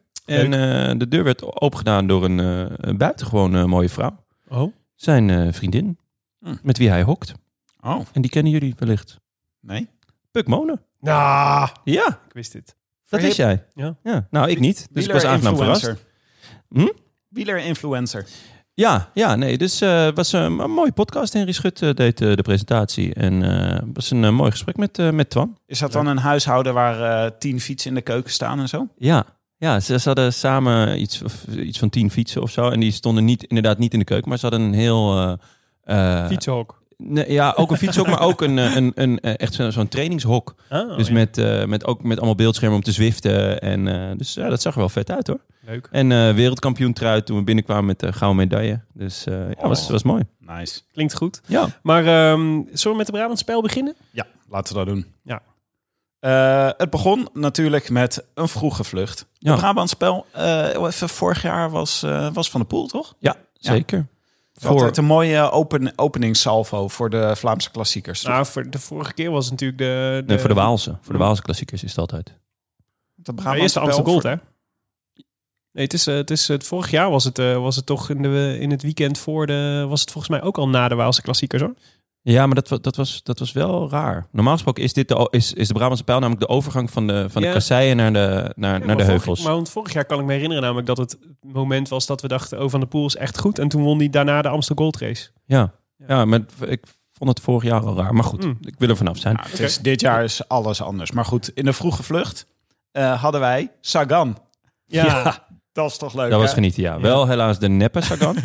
En
Leuk.
eh, de deur werd opengedaan door een, eh, een buitengewoon eh, mooie vrouw.
Oh,
Zijn eh, vriendin,
Hm.
met wie hij hokt.
Oh,
En die kennen jullie wellicht.
nee.
Puk Monen. Ja,
ik wist dit.
dat
Verhip.
is jij.
Ja.
ja. Nou, ik niet. Dus ik was aangenaam verrast.
Wieler-influencer.
Hm?
Wieler-influencer.
Ja, ja, nee. Dus eh, het was een, een mooie podcast. Henry Schut eh, deed eh, de presentatie. En eh, het was een eh, mooi gesprek met, eh, met Twan.
Is dat dan een huishouden waar eh, tien fietsen in de keuken staan en zo?
Ja, ja ze, ze hadden samen iets, of- iets van tien fietsen of zo. En die stonden niet, inderdaad niet in de keuken. Maar ze hadden een heel... eh,
Ah.
eh,
Fietshok.
nee, ja, ook een fietshok, maar ook een, eh, een, een, eh, echt zo- zo'n trainingshok.
Ah,
dus
ja.
met, eh, met, ook met allemaal beeldschermen om te zwiften. En, eh, dus ja, dat zag er wel vet uit hoor.
Leuk.
En eh wereldkampioen trui toen we binnenkwamen met de gouden medaille. Dus eh, ja, was, was mooi.
Nice.
Klinkt goed.
Ja.
Maar ehm, zullen we met de Brabantspel beginnen?
Ja, laten we dat doen.
Ja.
Eh, het begon natuurlijk met een vroege vlucht.
Ja.
Oh.
Het Brabantspel, eh, heel even vorig jaar was, eh, was van de pool, toch?
Ja, zeker.
Voor... Altijd een mooie open, openingssalvo voor de Vlaamse klassiekers. toch?
Nou, voor de vorige keer was het natuurlijk de...
Nee, voor de Waalse. Voor de Waalse klassiekers is het altijd.
Het
De
Brabantspel
eerste Amsterdam Gold,
voor-
hè? Nee, het is, eh, het is het vorig jaar was het, eh, was het toch in, de, in het weekend voor de... Was het volgens mij ook al na de Waalse klassiekers, hoor.
Ja, maar dat, wa- dat, was, dat was wel raar. Normaal gesproken is, dit de, o- is, is de Brabantse pijl namelijk de overgang van de, van
Ja.
de kasseien naar de, naar,
Ja,
naar de
maar vorig-
heuvels.
maar want vorig jaar kan ik me herinneren namelijk dat het het moment was dat we dachten... Oh, Van der Poel is echt goed. En toen won hij daarna de Amsterdam Gold Race.
Ja. ja, Hmm. maar het- ik vond het vorig jaar al raar. Maar goed,
Mm.
ik wil er vanaf zijn.
Nou, het is, dit jaar is alles anders. Maar goed, in de vroege vlucht eh, hadden wij Sagan.
Ja.
Dat is toch leuk,
Dat was
hè?
genieten, ja. Wel helaas de neppe [laughs] Sagan,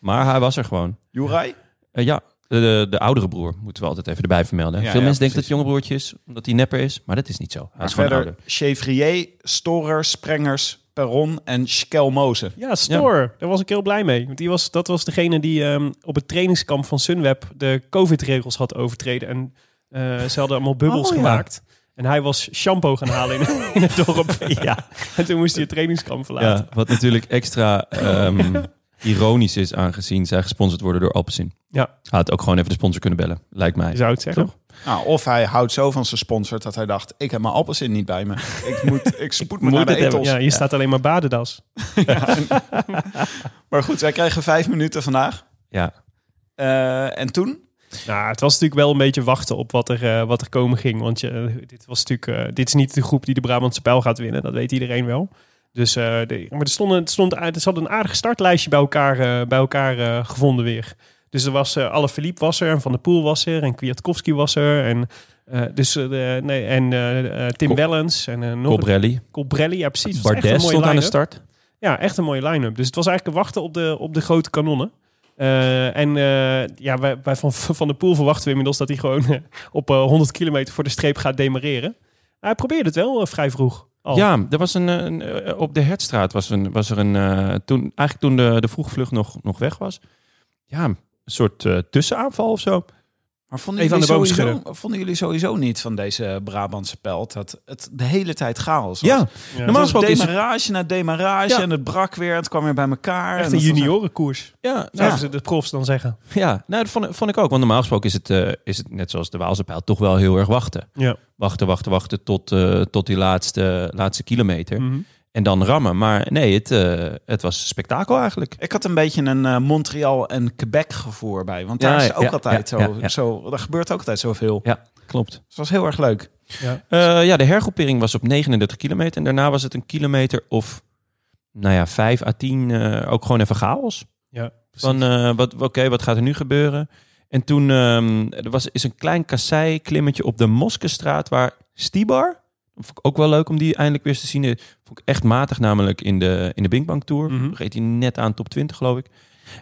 maar hij was er gewoon.
Joeraj?
Eh, ja, de, de, de oudere broer moeten we altijd even erbij vermelden.
Ja,
Veel
ja,
mensen denken dat
precies.
het jonge broertje is, omdat hij nepper is. Maar dat is niet zo. Hij is gewoon
Verder
ouder.
Chevrier, Storer, Sprengers, Perron en Skelmozen.
Ja, Store. Daar was ik heel blij mee. Want die was, dat was degene die ehm, op het trainingskamp van Sunweb de COVID-regels had overtreden. En eh, ze hadden allemaal bubbels
Oh, ja.
gemaakt. En hij was shampoo gaan halen in, in het dorp. Ja. En toen moest hij het trainingskamp verlaten.
Ja, wat natuurlijk extra ehm, ironisch is, aangezien zij gesponsord worden door Alpecin.
Ja.
Hij had ook gewoon even de sponsor kunnen bellen, lijkt mij.
Je zou het zeggen.
Toch?
Nou, of hij houdt zo van zijn sponsor dat hij dacht... ik heb mijn appelsin niet
[laughs]
bij me. Ik, moet, ik spoed me
Moet
naar de
het hebben,
etels.
Ja, hier staat alleen maar badendas.
Maar goed, wij krijgen vijf minuten vandaag.
Ja.
Eh, en toen?
Nou, het was natuurlijk wel een beetje wachten op wat er, eh, wat er komen ging. Want je, eh, dit, was natuurlijk, eh, dit is niet de groep die de Brabantse pijl gaat winnen. Dat weet iedereen wel. Dus, eh, de, maar er, stonden, het stond, aard- ze hadden een aardig startlijstje bij elkaar, eh, bij elkaar eh, gevonden weer. Dus er was eh alle Philippe was er en Van der Poel was er en Kwiatkowski was er. En, eh, dus, eh, de- nee, en eh, eh, Tim
Kop-
Wellens en eh, nog een-
Cobrelli.
Colbrelli. Ja, precies. Het was echt een
Bardet
mooie
stond aan de
line-up.
start.
Ja, echt een mooie line-up. Dus het was eigenlijk wachten op de, op de grote kanonnen. Eh, en eh, ja, wij, wij van, van de Poel verwachten we inmiddels dat hij gewoon eh, op eh, 100 kilometer voor de streep gaat demareren. Maar hij probeerde het wel eh, vrij vroeg. Al.
Ja, er was een, eh, een, eh, op de Hertstraat was, een, was er een... eh, toen, eigenlijk toen de, de vroegvlucht nog, nog weg was. Ja, een soort eh, tussenaanval of zo.
Maar vonden
Even
jullie,
aan de boom
sowieso, vonden jullie sowieso niet van deze Brabantse pelt... dat het de hele tijd chaos was?
Ja, normaal
Het was
gesproken is het...
demarage na demarage
Ja.
en het brak weer. Het kwam weer bij elkaar.
echt
en
een
dat was-
juniorenkoers,
Ja, nou,
zouden ze de profs dan zeggen.
Ja, nou, dat vond, ik- vond ik ook. Want normaal gesproken is het, eh, is het, net zoals de Waalse pijl, toch wel heel erg wachten.
Ja.
Wachten, wachten, wachten tot, eh, tot die laatste, laatste kilometer. En dan rammen. Maar nee, het, eh, het was spektakel eigenlijk.
Ik had een beetje een eh, Montreal en Quebec gevoel bij. Want
Ja,
daar is
ja,
ook
ja,
altijd
ja,
zo,
ja, ja.
zo... Daar gebeurt ook altijd zoveel.
Ja, klopt.
Dus het was heel erg leuk.
Eh, ja, de hergroepering was op 39 kilometer. En daarna was het een kilometer of, nou ja, 5 à 10. eh, ook gewoon even chaos.
Ja,
Van, eh, wat, oké, wat gaat er nu gebeuren? En toen ehm, er was, is een klein kassei-klimmetje op de Moskestraat waar Stibar, vond ik ook wel leuk om die eindelijk weer eens te zien. Eh, Vond ik echt matig namelijk in de, in de Bing Bang Tour.
Mhm.
Reed hij net aan top 20 geloof ik.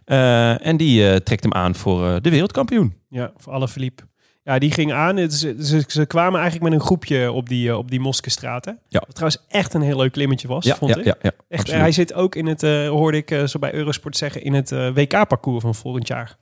Eh, en die eh, trekt hem aan voor eh, de wereldkampioen.
Ja, voor alle verliep. Ja, die ging aan. Het, ze, ze, ze kwamen eigenlijk met een groepje op die, eh, op die Moskestraat. Hè?
Ja.
Wat trouwens echt een heel leuk klimmetje was, vond ik.
ja,
Echt,
absoluut.
hij zit ook in het, eh, hoorde ik eh, zo bij Eurosport zeggen, in het WK-parcours van volgend jaar.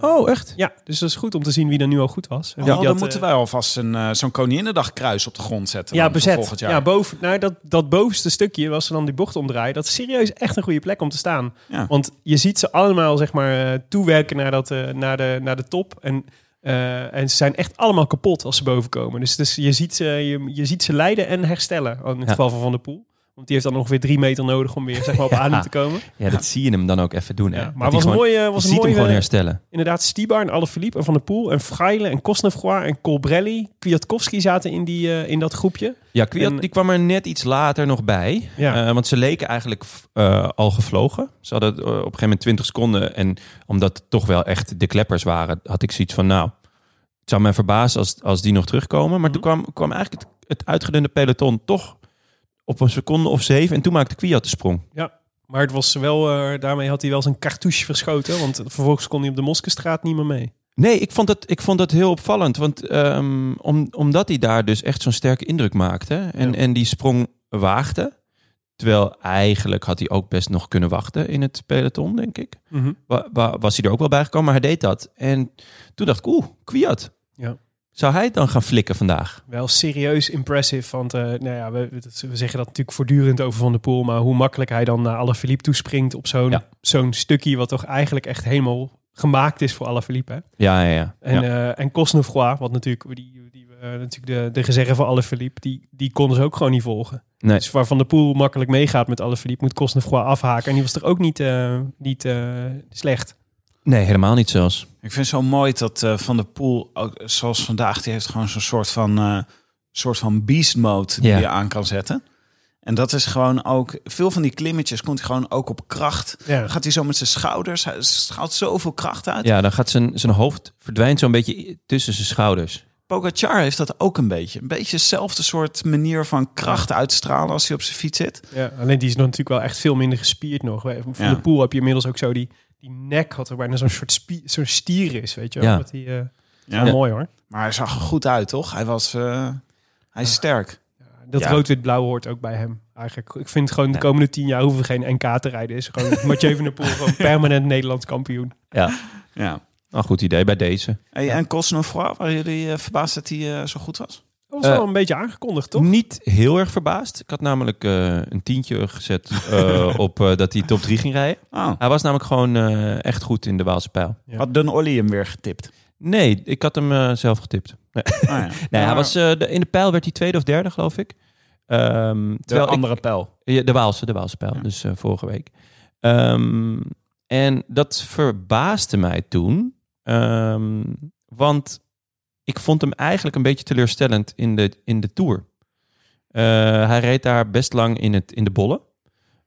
Oh, echt?
Ja, dus dat is goed om te zien wie er nu al goed was. En
Ja, Oh,
wie dat,
dan
eh,
moeten wij alvast een, eh, zo'n Koninginnedag kruis op de grond zetten.
Ja,
dan voor
bezet.
Volgend jaar.
Ja, boven, nou, dat, dat bovenste stukje, waar ze dan die bocht omdraaien, dat is serieus echt een goede plek om te staan.
Ja.
Want je ziet ze allemaal zeg maar, eh, toewerken naar, dat, eh, naar, de, naar de top. En, eh, en ze zijn echt allemaal kapot als ze boven komen. Dus, dus je, ziet ze, je, je ziet ze lijden en herstellen. In het
Ja.
geval van Van der Poel. Want die heeft dan ongeveer drie meter nodig om weer zeg
[laughs]
maar, op
Ja.
adem te komen.
Ja, dat zie je hem dan ook even doen. hè.
Ja,
Dat
maar
hij
was een
gewoon-
mooie,
je
was een
ziet hem
mooie
gewoon herstellen.
inderdaad Stibar en Alaphilippe en Van der Poel en Fraile en Kosnefroy en Colbrelli. Kwiatkowski zaten in, die, eh, in dat groepje.
Ja, Kwiat
En-
die kwam er net iets later nog bij.
Ja.
Eh, want ze leken eigenlijk eh, al gevlogen. Ze hadden eh, op een gegeven moment 20 seconden. En omdat het toch wel echt de kleppers waren, had ik zoiets van... Nou, het zou mij verbazen als, als die nog terugkomen. Maar
Mhm.
toen kwam, kwam eigenlijk het, het uitgedunde peloton toch op een seconde of zeven. En toen maakte Kwiat de sprong.
Maar het was wel, eh, daarmee had hij wel zijn cartouche verschoten, want vervolgens kon hij op de Moskestraat niet meer mee.
Nee, ik vond dat, ik vond dat heel opvallend. Want ehm, om, omdat hij daar dus echt zo'n sterke indruk maakte. En,
Ja.
en die sprong waagde. Terwijl eigenlijk had hij ook best nog kunnen wachten in het peloton, denk ik.
Mhm.
Wa- wa- was hij er ook wel bij gekomen, maar hij deed dat. En toen dacht ik, oeh, Kwiat.
Ja.
Zou hij het dan gaan flikken vandaag?
Wel serieus impressive, want eh, nou ja, we, we zeggen dat natuurlijk voortdurend over Van der Poel, maar hoe makkelijk hij dan naar Alaphilippe toespringt op zo'n
Ja.
zo'n stukje wat toch eigenlijk echt helemaal gemaakt is voor Alaphilippe. hè?
Ja, ja, ja.
En, eh en Cosnefroy, wat natuurlijk, die, die, eh, natuurlijk de, de gezeggen van Alaphilippe, die, die konden ze ook gewoon niet volgen.
Nee.
Dus waar Van der Poel makkelijk meegaat met Alaphilippe, moet Cosnefroy afhaken. En die was er ook niet, eh, niet eh, slecht.
Nee, helemaal niet zelfs.
Ik vind het zo mooi dat eh, Van der Poel, ook, zoals vandaag, die heeft gewoon zo'n soort van, eh, soort van beast mode die
Ja.
je aan kan zetten. En dat is gewoon ook, veel van die klimmetjes komt hij gewoon ook op kracht.
Ja.
Dan gaat hij zo met zijn schouders, hij schaalt zoveel kracht uit.
Ja, dan gaat zijn, zijn hoofd verdwijnt zo'n beetje i- tussen zijn schouders.
Pogacar heeft dat ook een beetje. Een beetje hetzelfde soort manier van kracht uitstralen als hij op zijn fiets zit.
Ja, alleen die is nog natuurlijk wel echt veel minder gespierd nog. Wij- Van
Ja.
de pool heb je inmiddels ook zo die, die nek had er bijna zo'n soort spie- zo'n stier is, weet je wel.
Ja.
Dat die, eh,
Ja.
wel mooi hoor.
Maar hij zag er goed uit, toch? Hij was... eh, hij is sterk.
Dat
Ja.
rood-wit-blauw hoort ook bij hem eigenlijk. Ik vind gewoon de komende tien jaar hoeven we geen NK te rijden. Is
[laughs]
gewoon Mathieu van der Poel gewoon permanent Nederlands kampioen. [laughs]
Ja.
Nou, goed idee bij deze.
Hey, en Cosnefroid, waren jullie eh, verbaasd dat hij eh, zo goed was?
Dat was wel een beetje aangekondigd, toch?
Niet heel erg verbaasd. Ik had namelijk eh, een tientje gezet
[laughs]
eh, op eh, dat hij top 3 ging rijden.
Oh.
Hij was namelijk gewoon eh, echt goed in de Waalse pijl.
Had Dun Olly hem weer getipt?
Nee, ik had hem eh, zelf getipt. Nee,
[laughs] Ah, ja.
nee
Maar
hij was, eh, de, in de pijl werd hij tweede of derde, geloof ik. Ehm,
de
terwijl ik-
andere pijl.
Ja, de Waalse, de Waalse pijl,
Ja.
dus eh, vorige week. Ehm, en dat verbaasde mij toen, ehm, want ik vond hem eigenlijk een beetje teleurstellend in de, in de Tour. Eh, hij reed daar best lang in, het, in de bollen.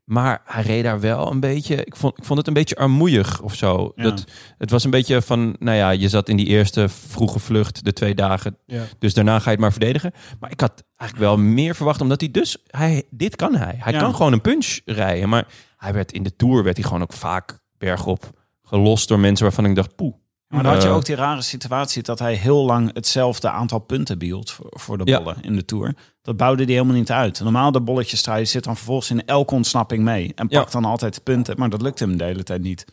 Maar hij reed daar wel een beetje. Ik vond, ik vond het een beetje armoeig of zo.
Ja.
Dat, het was een beetje van. Nou ja, je zat in die eerste vroege vlucht, de twee dagen.
Ja.
Dus daarna ga je het maar verdedigen. Maar ik had eigenlijk wel meer verwacht, omdat hij dus. Hij, dit kan hij. Hij
Ja.
kan gewoon een punch rijden. Maar hij werd in de tour werd hij gewoon ook vaak bergop gelost door mensen waarvan ik dacht. Poeh.
Maar dan had je
Eh,
ook die rare situatie dat hij heel lang hetzelfde aantal punten behield voor, voor de
Ja.
bollen in de Tour. Dat bouwde hij helemaal niet uit. Normaal de bolletjes hij zit dan vervolgens in elke ontsnapping mee en
Ja.
pakt dan altijd de punten. Maar dat lukt hem de hele tijd niet.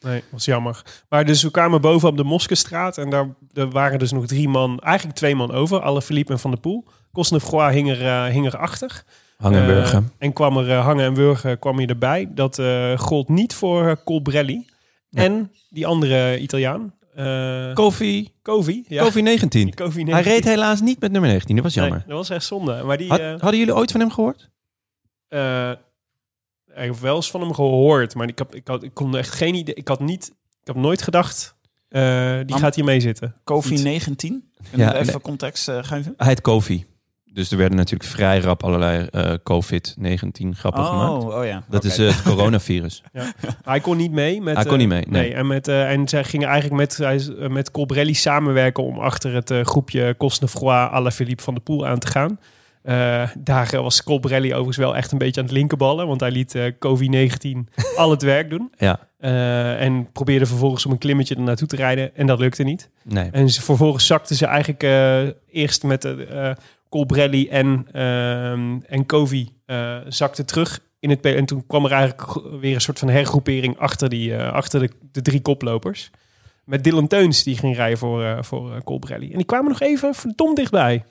Nee, was jammer. Maar dus we kwamen boven op de Moskestraat en daar er waren dus nog drie man, eigenlijk twee man over. Alle Philippe en Van der Poel. Kosnefroy hing, er, eh, hing erachter.
Hangenburger.
Eh, en kwam er eh, Hangen en Wurgen kwam hier erbij. Dat eh gold niet voor eh, Colbrelli. En die andere Italiaan. eh
Kofi.
Covi. Ja. [laughs]
Kofi 19.
Die Covi
Hij reed
19.
helaas niet met nummer 19. Dat was
Nee,
jammer.
dat was echt zonde. Maar die...
Had-
eh,
hadden jullie ooit van hem gehoord?
eh, ik heb wel eens van hem gehoord, maar ik, heb, ik, had, ik kon echt geen idee. Ik had niet, ik heb nooit gedacht, eh, die
Maar-
gaat hier mee zitten.
Kofi
Niet.
19. Kunnen we
Ja,
even
nee.
context eh, geven?
Hij heet Kofi. Dus er werden natuurlijk vrij rap allerlei eh, COVID-19 grappen gemaakt.
oh ja.
Dat
Oké.
is eh, het
[laughs]
coronavirus.
Maar hij kon niet mee. Met,
Hij kon
eh,
niet mee, nee.
en, met, eh, en zij gingen eigenlijk met, hij is, eh, met Colbrelli samenwerken om achter het eh, groepje Cosnefroy à la Philippe van der Poel aan te gaan. Eh, daar eh, was Colbrelli overigens wel echt een beetje aan het linkerballen, want hij liet eh
[laughs]
COVID-19 al het werk doen.
Ja,
Eh, en probeerde vervolgens om een klimmetje er naartoe te rijden en dat lukte niet.
nee.
En ze, vervolgens zakten ze eigenlijk eh, eerst met de eh Colbrelli en, ehm en Covey eh, zakten terug. In het, pe- en toen kwam er eigenlijk go- weer een soort van hergroepering achter, die, eh, achter de, de drie koplopers. Met Dylan Teuns die ging rijden voor, eh voor eh, Colbrelli. En die kwamen nog even verdomd dichtbij.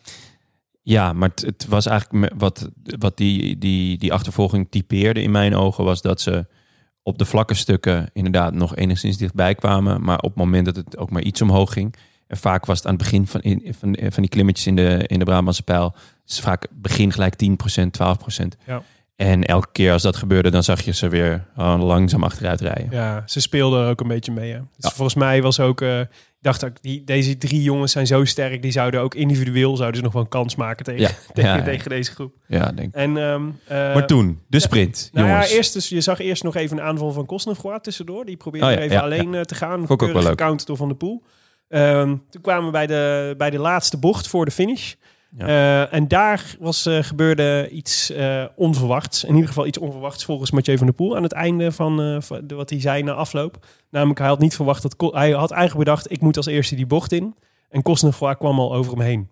Ja, maar het, het was eigenlijk me- wat, wat die, die, die achtervolging typeerde in mijn ogen, was dat ze op de vlakke stukken inderdaad nog enigszins dichtbij kwamen. Maar op het moment dat het ook maar iets omhoog ging. En vaak was het aan het begin van, in, van, van die klimmetjes in de, in de Brabantse pijl. is vaak begin gelijk 10%, 12%.
Ja.
En elke keer als dat gebeurde, dan zag je ze weer oh, langzaam achteruit rijden.
Ja, ze speelden er ook een beetje mee. Hè. Dus volgens mij was ook... eh, ik dacht ook, die, deze drie jongens zijn zo sterk. Die zouden ook individueel zouden ze nog wel een kans maken tegen,
Ja,
[laughs] tegen,
ja, ja.
tegen deze groep.
Ja, denk ik.
En, ehm, eh,
maar toen, de sprint,
Nou
jongens.
ja, eerst dus, je zag eerst nog even een aanval van Kosnefroa tussendoor. Die probeerde
Oh ja,
even
ja,
alleen eh, te gaan.
ook wel
Keurig
leuk.
gecounterd door Van de Poel. Ehm, toen kwamen we bij de, bij de laatste bocht voor de finish. Eh, en daar was, eh, gebeurde iets eh, onverwachts. In ieder geval iets onverwachts volgens Mathieu van der Poel. Aan het einde van, eh, van de- wat hij zei na afloop. Namelijk, hij had niet verwacht dat... Ko- Hij had eigenlijk bedacht, ik moet als eerste die bocht in. En Kosnefroa kwam al over hem heen.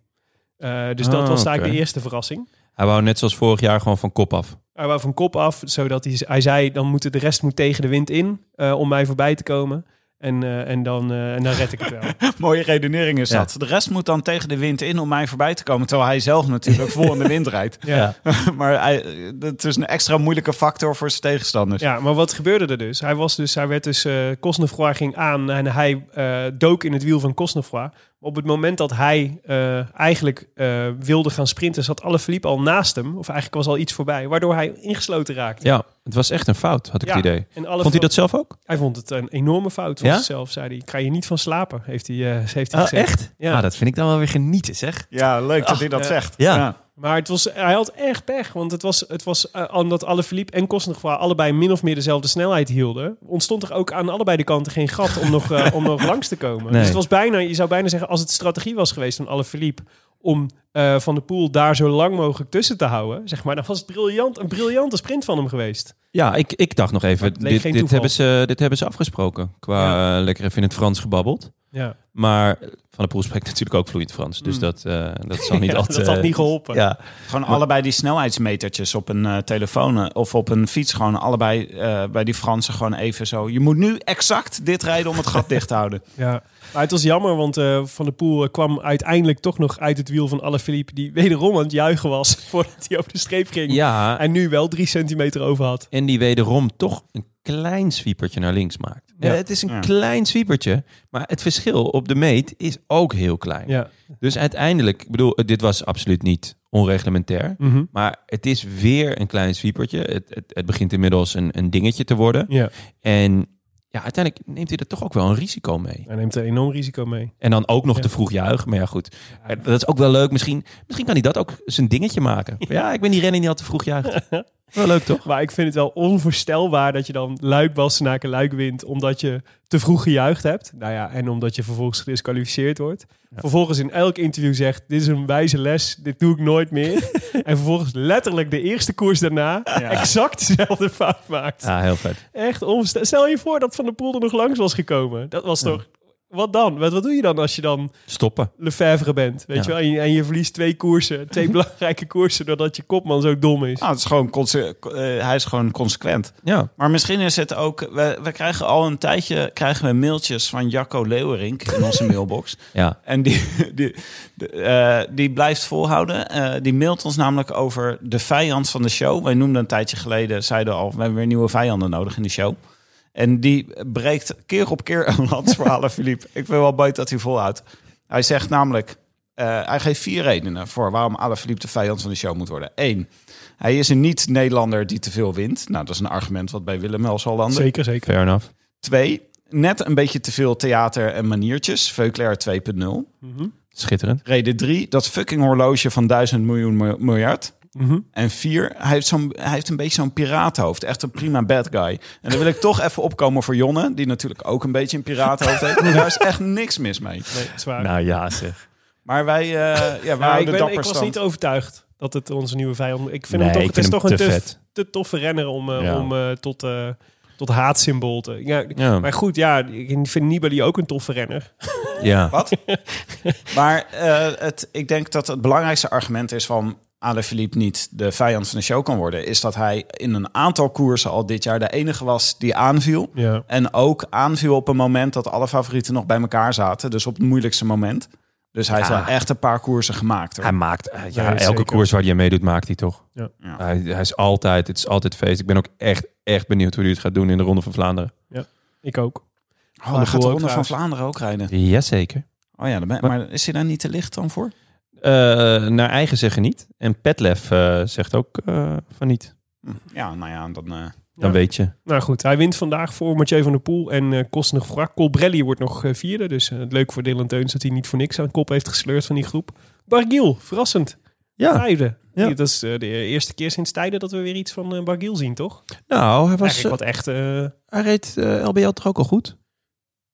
Eh, dus dat
Ah,
was eigenlijk
oké.
de eerste verrassing.
Hij wou net zoals vorig jaar gewoon van kop af.
Hij wou van kop af, zodat hij, hij zei, dan moet de rest moet tegen de wind in eh, om mij voorbij te komen. En, eh, en, dan, eh, en dan red ik het
[laughs]
wel.
[laughs] Mooie redenering is
Ja.
dat. De rest moet dan tegen de wind in om mij voorbij te komen. Terwijl hij
[laughs]
zelf natuurlijk vol in de wind rijdt.
ja.
maar hij, dat is een extra moeilijke factor voor zijn tegenstanders.
ja, maar wat gebeurde er dus? Hij, was dus, hij werd dus, eh Cosnefroy ging aan en hij eh, dook in het wiel van Cosnefroy. Op het moment dat hij eh, eigenlijk eh, wilde gaan sprinten, zat Alaphilippe al naast hem. Of eigenlijk was al iets voorbij, waardoor hij ingesloten raakte.
Ja, het was echt een fout, had ik
Ja,
het idee.
en alle
Vond hij dat zelf ook?
Hij vond het een enorme fout van
Ja? Ah,
zichzelf, zei hij. Ik ga je niet van slapen, heeft hij, eh heeft hij gezegd.
echt?
Ja.
Ja, dat vind ik dan wel weer genieten, zeg.
Ja, leuk dat hij dat
ja.
zegt.
Ja.
Maar het was, hij had echt pech. Want het was, het was eh, omdat alle Philippe en Kostnerva allebei min of meer dezelfde snelheid hielden. Ontstond er ook aan allebei de kanten geen gat om nog, eh, om
[laughs]
nog langs te komen.
Nee.
Dus het was bijna, je zou bijna zeggen, als het strategie was geweest van alle Philippe om eh, Van de Poel daar zo lang mogelijk tussen te houden, zeg maar, dan was het briljant, een briljante sprint van hem geweest.
Ja, ik, ik dacht nog even,
het leek
dit,
geen
dit,
toeval.
hebben ze, dit hebben ze afgesproken. Qua eh, lekker even in het Frans gebabbeld.
Ja,
Maar Van der Poel spreekt [laughs] natuurlijk ook vloeiend Frans. Dus dat, eh, dat zal niet
Mm. [laughs] Ja,
altijd... eh,
dat had niet geholpen.
Ja,
Gewoon allebei die snelheidsmetertjes op een eh, telefoon eh, of op een fiets. Gewoon allebei eh, bij die Fransen gewoon even zo. Je moet nu exact dit rijden om het gat dicht te houden.
Ja, maar het was jammer, want eh, Van der Poel eh, kwam uiteindelijk toch nog uit het wiel van Alaphilippe, die wederom aan het juichen was [laughs] voordat hij over de streep ging.
ja,
En nu wel drie centimeter over had.
en die wederom toch een klein zwiepertje naar links maakt. Ja. het is een klein zwiepertje, maar het verschil op de meet is ook heel klein.
Ja,
Dus uiteindelijk, ik bedoel, dit was absoluut niet onreglementair.
Mhm.
Maar het is weer een klein zwiepertje. Het, het, het begint inmiddels een, een dingetje te worden.
ja.
En ja, uiteindelijk neemt hij er toch ook wel een risico mee.
hij neemt een enorm risico mee.
En dan ook nog
Ja.
te vroeg juichen. Maar ja, goed. Dat is ook wel leuk. Misschien, misschien kan hij dat ook zijn dingetje
[laughs]
maken. Ja, ik ben die renner die al te vroeg juicht. wel leuk, toch?
Maar ik vind het wel onvoorstelbaar dat je dan luik Bastenaken luik wint omdat je te vroeg gejuicht hebt. Nou ja, en omdat je vervolgens gedisqualificeerd wordt. Vervolgens in elk interview zegt, dit is een wijze les, dit doe ik nooit
[laughs]
meer. en vervolgens letterlijk de eerste koers daarna exact dezelfde fout maakt.
Ja, heel vet.
Echt onvoorstelbaar. Stel je voor dat Van der Poel er nog langs was gekomen. Dat was toch... Wat dan? Wat, wat doe je dan als je dan
Stoppen.
Lefevre bent? Weet
Ja.
je wel? En, je, en je verliest twee
[laughs]
koersen. Twee belangrijke koersen doordat je kopman zo dom
Ah,
is.
[laughs] Nou, het is gewoon conse- eh, hij is gewoon consequent.
Ja.
Maar misschien is het ook... We, we krijgen al een tijdje krijgen we mailtjes van Jacco Leeuwerink in [laughs] onze mailbox.
Ja.
En die, [laughs] die, de, eh, die blijft volhouden. Eh, die mailt ons namelijk over de vijand van de show. Wij noemden een tijdje geleden, zeiden al, we hebben weer nieuwe vijanden nodig in de show. En die breekt keer op keer een lans voor Alaphilippe. Ik ben wel buiten dat hij volhoudt. Hij zegt namelijk, eh, hij geeft vier redenen voor waarom Alaphilippe de vijand van de show moet worden. Eén, hij is een niet-Nederlander die te veel wint. Nou, dat is een argument wat bij Willem wel zal landen.
Zeker, zeker.
Fair enough.
Twee, net een beetje te veel theater en maniertjes. Veuclair 2.0.
Schitterend.
Reden drie, dat fucking horloge van duizend miljoen mil- miljard.
Mhm.
En vier, hij heeft, zo'n, hij heeft een beetje zo'n piraathoofd. Echt een prima bad guy. En dan wil ik toch even opkomen voor Jonne, die natuurlijk ook een beetje een piraathoofd heeft. Maar daar is echt niks mis mee.
Nee, dat is waar.
Nou ja, zeg.
Maar wij, eh ja,
Maar
wij
ik,
houden
ben,
dapper
ik was
stand.
niet overtuigd dat het onze nieuwe vijand... Ik vind
Nee,
hem toch,
ik
het is
vind
toch
hem
een
te
te,
vet.
te toffe renner om, eh,
Ja.
om eh, tot, eh, tot haatsymbool te... Ja,
Ja.
Maar goed, ja, ik vind Nibali ook een toffe renner.
Ja.
Wat? maar eh, het, ik denk dat het belangrijkste argument is van Alaphilippe niet de vijand van de show kan worden, is dat hij in een aantal koersen al dit jaar de enige was die aanviel.
Ja.
En ook aanviel op een moment dat alle favorieten nog bij elkaar zaten. Dus op het moeilijkste moment. Dus hij heeft
Ja.
wel echt een paar koersen gemaakt. hoor.
Hij maakt, eh, ja,
Nee,
elke
zeker.
koers waar hij aan meedoet, maakt hij toch.
Ja.
Ja.
Hij, hij is altijd, het is altijd feest. Ik ben ook echt, echt benieuwd hoe hij het gaat doen in de Ronde van Vlaanderen.
Ik ook.
Oh, dan gaat de
Poel ook
Ronde van
trouwens.
Vlaanderen ook rijden.
Jazeker.
Oh ja, dan ben- maar is hij daar niet te licht dan voor?
Eh naar eigen zeggen niet. En Petlef eh, zegt ook eh, van niet.
Hm. Ja, nou ja, dan... eh,
Dan
Ja.
weet je.
Nou goed, hij wint vandaag voor Mathieu van der Poel en eh Kostner Vrak. Colbrelli wordt nog eh, vierde, dus eh, leuk voor Dylan Teuns dat hij niet voor niks aan kop heeft gesleurd van die groep. Bargiel, verrassend,
Ja,
vijfde.
Ja.
Dat is eh, de eerste keer sinds tijden dat we weer iets van eh Bargiel zien, toch?
nou, hij, was,
Eigenlijk wat echt... eh,
hij reed eh, LBL toch ook al goed?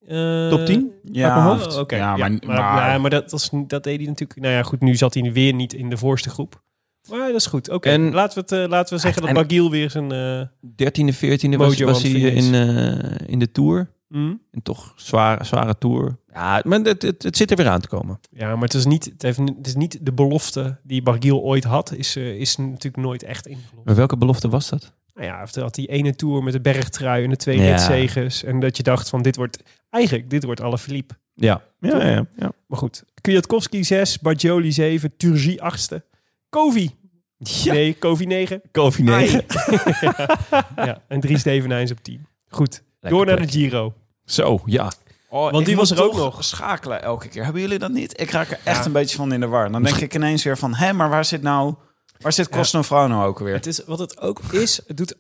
eh,
Top 10?
ja,
mijn hoofd.
Oh, oké.
Ja,
Ja,
maar-
maar,
maar-
ja, maar dat, was, dat deed hij natuurlijk... Nou ja, goed, nu zat hij weer niet in de voorste groep. Maar dat is goed. Oké,
En-
laten, we het, eh,
Ah,
laten we zeggen dat
Uiteindelijk-
Bargiel weer zijn... eh,
13e, 14e was,
Mojo
was
aan
hij
het
eh, in,
verliezen.
eh, in de Tour.
hm?
En toch zware, zware Tour. Ja, maar het, het, het zit er weer aan te komen.
Ja, maar het is niet, het heeft, het is niet de belofte die Bargiel ooit had. Is, eh, is natuurlijk nooit echt ingelost.
Maar welke belofte was dat?
Nou ja, hij had die ene tour met de bergtrui en de twee
Ja.
ritzegers. En dat je dacht van dit wordt... Eigenlijk, dit wordt alle Philippe.
Ja. Ja, ja, ja, ja.
Maar goed. Kwiatkowski 6, Bargioli 7, Turgi 8ste. Kovi. Nee, Kovi 9.
Kofi
Ja, en Dries Devenijns op 10. Goed, door naar de Giro.
Zo, ja.
Oh,
Want
ik
die
moet
was er ook
toch
nog.
schakelen elke keer. Hebben jullie dat niet? Ik raak er echt een beetje van in de war. Dan denk ik ineens weer van... Hé, maar waar zit nou... Waar zit Cosnefro nou ook weer?
Het is, wat het ook is, het doet,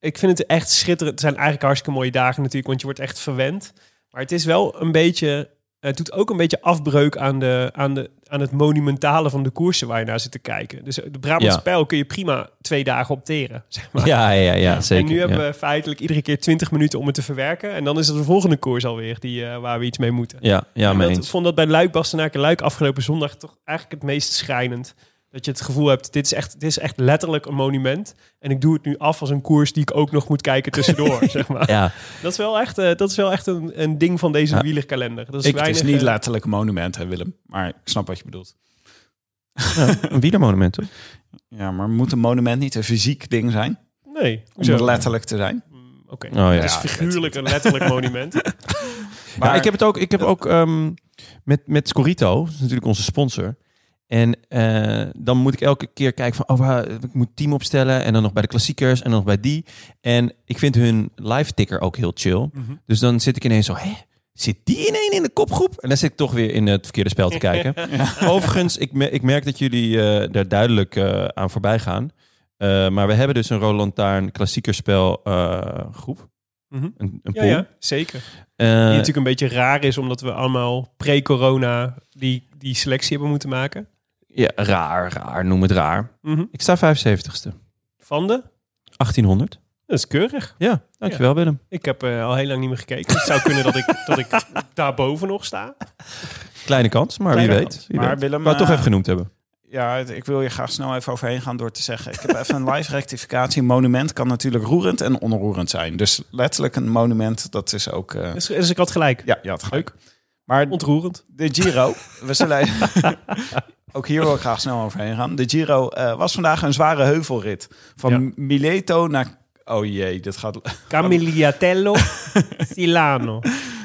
ik vind het echt schitterend. Het zijn eigenlijk hartstikke mooie dagen natuurlijk, want je wordt echt verwend. Maar het is wel een beetje, het doet ook een beetje afbreuk aan de, aan de, aan het monumentale van de koersen waar je naar zit te kijken. Dus de Brabantse
Ja.
pijl kun je prima twee dagen opteren. Zeg maar.
Ja, ja, ja, zeker.
en nu
ja.
hebben we feitelijk iedere keer 20 minuten om het te verwerken. En dan is het de volgende koers alweer die, eh, waar we iets mee moeten.
Ja, ja, mee
ik
eens.
vond dat bij Luik Bastenaken Luik afgelopen zondag toch eigenlijk het meest schrijnend. Dat je het gevoel hebt, dit is, echt, dit is echt letterlijk een monument. En ik doe het nu af als een koers die ik ook nog moet
[laughs]
kijken tussendoor. zeg maar.
Ja,
Dat is wel echt, eh, dat is wel echt een, een ding van deze wielerkalender. Dat is
Ik, het
weinig,
is niet
eh,
letterlijk een monument, hè Willem. Maar ik snap wat je bedoelt.
een wielermonument, toch?
Ja, maar moet een monument niet een fysiek ding zijn?
Nee,
Om
hoezo?
het letterlijk te zijn?
Oké.
Oh, ja.
Het is
Ja,
figuurlijk een
[laughs]
letterlijk monument.
Maar ik heb het ook, ik heb ook ehm, met, met Scorito, dat is natuurlijk onze sponsor. En eh, dan moet ik elke keer kijken van, oh, waar- ik moet team opstellen. En dan nog bij de klassiekers en dan nog bij die. En ik vind hun live ticker ook heel chill. Dus dan zit ik ineens zo, hè? Zit die ineen in de kopgroep? En dan zit ik toch weer in het verkeerde spel te kijken. Overigens, ik, me- ik merk dat jullie eh, daar duidelijk eh, aan voorbij gaan. Eh, maar we hebben dus een Roland Taarn klassiekerspel eh, groep.
Mhm.
Een, een
Ja,
pool.
ja, zeker. Die
Eh,
natuurlijk een beetje raar is, omdat we allemaal pre-corona die, die selectie hebben moeten maken.
Ja, raar, raar, noem het raar.
Mhm.
Ik sta 75ste.
Van de?
1800.
Dat is keurig.
Ja, dankjewel Willem.
Ik heb eh, al heel lang niet meer gekeken. Het zou kunnen [laughs] dat ik, dat ik daarboven nog sta.
Kleine kans, maar
Kleine
wie
kans.
weet. Wie
Maar
weet.
Willem,
Ik wou het toch
eh,
even genoemd hebben.
Ja, het- ik wil je graag snel even overheen gaan door te zeggen. Ik heb even een live rectificatie. Een monument kan natuurlijk roerend en onroerend zijn. Dus letterlijk een monument, dat is ook... eh,
Dus, dus ik had gelijk.
ja, ja, het leuk. Maar
Ontroerend.
de Giro, we zullen even- [laughs] ook hier wil ik graag snel overheen gaan. De Giro eh, was vandaag een zware heuvelrit. Van Mileto naar... Oh jee, dit gaat... [laughs]
Camilliatello Silano.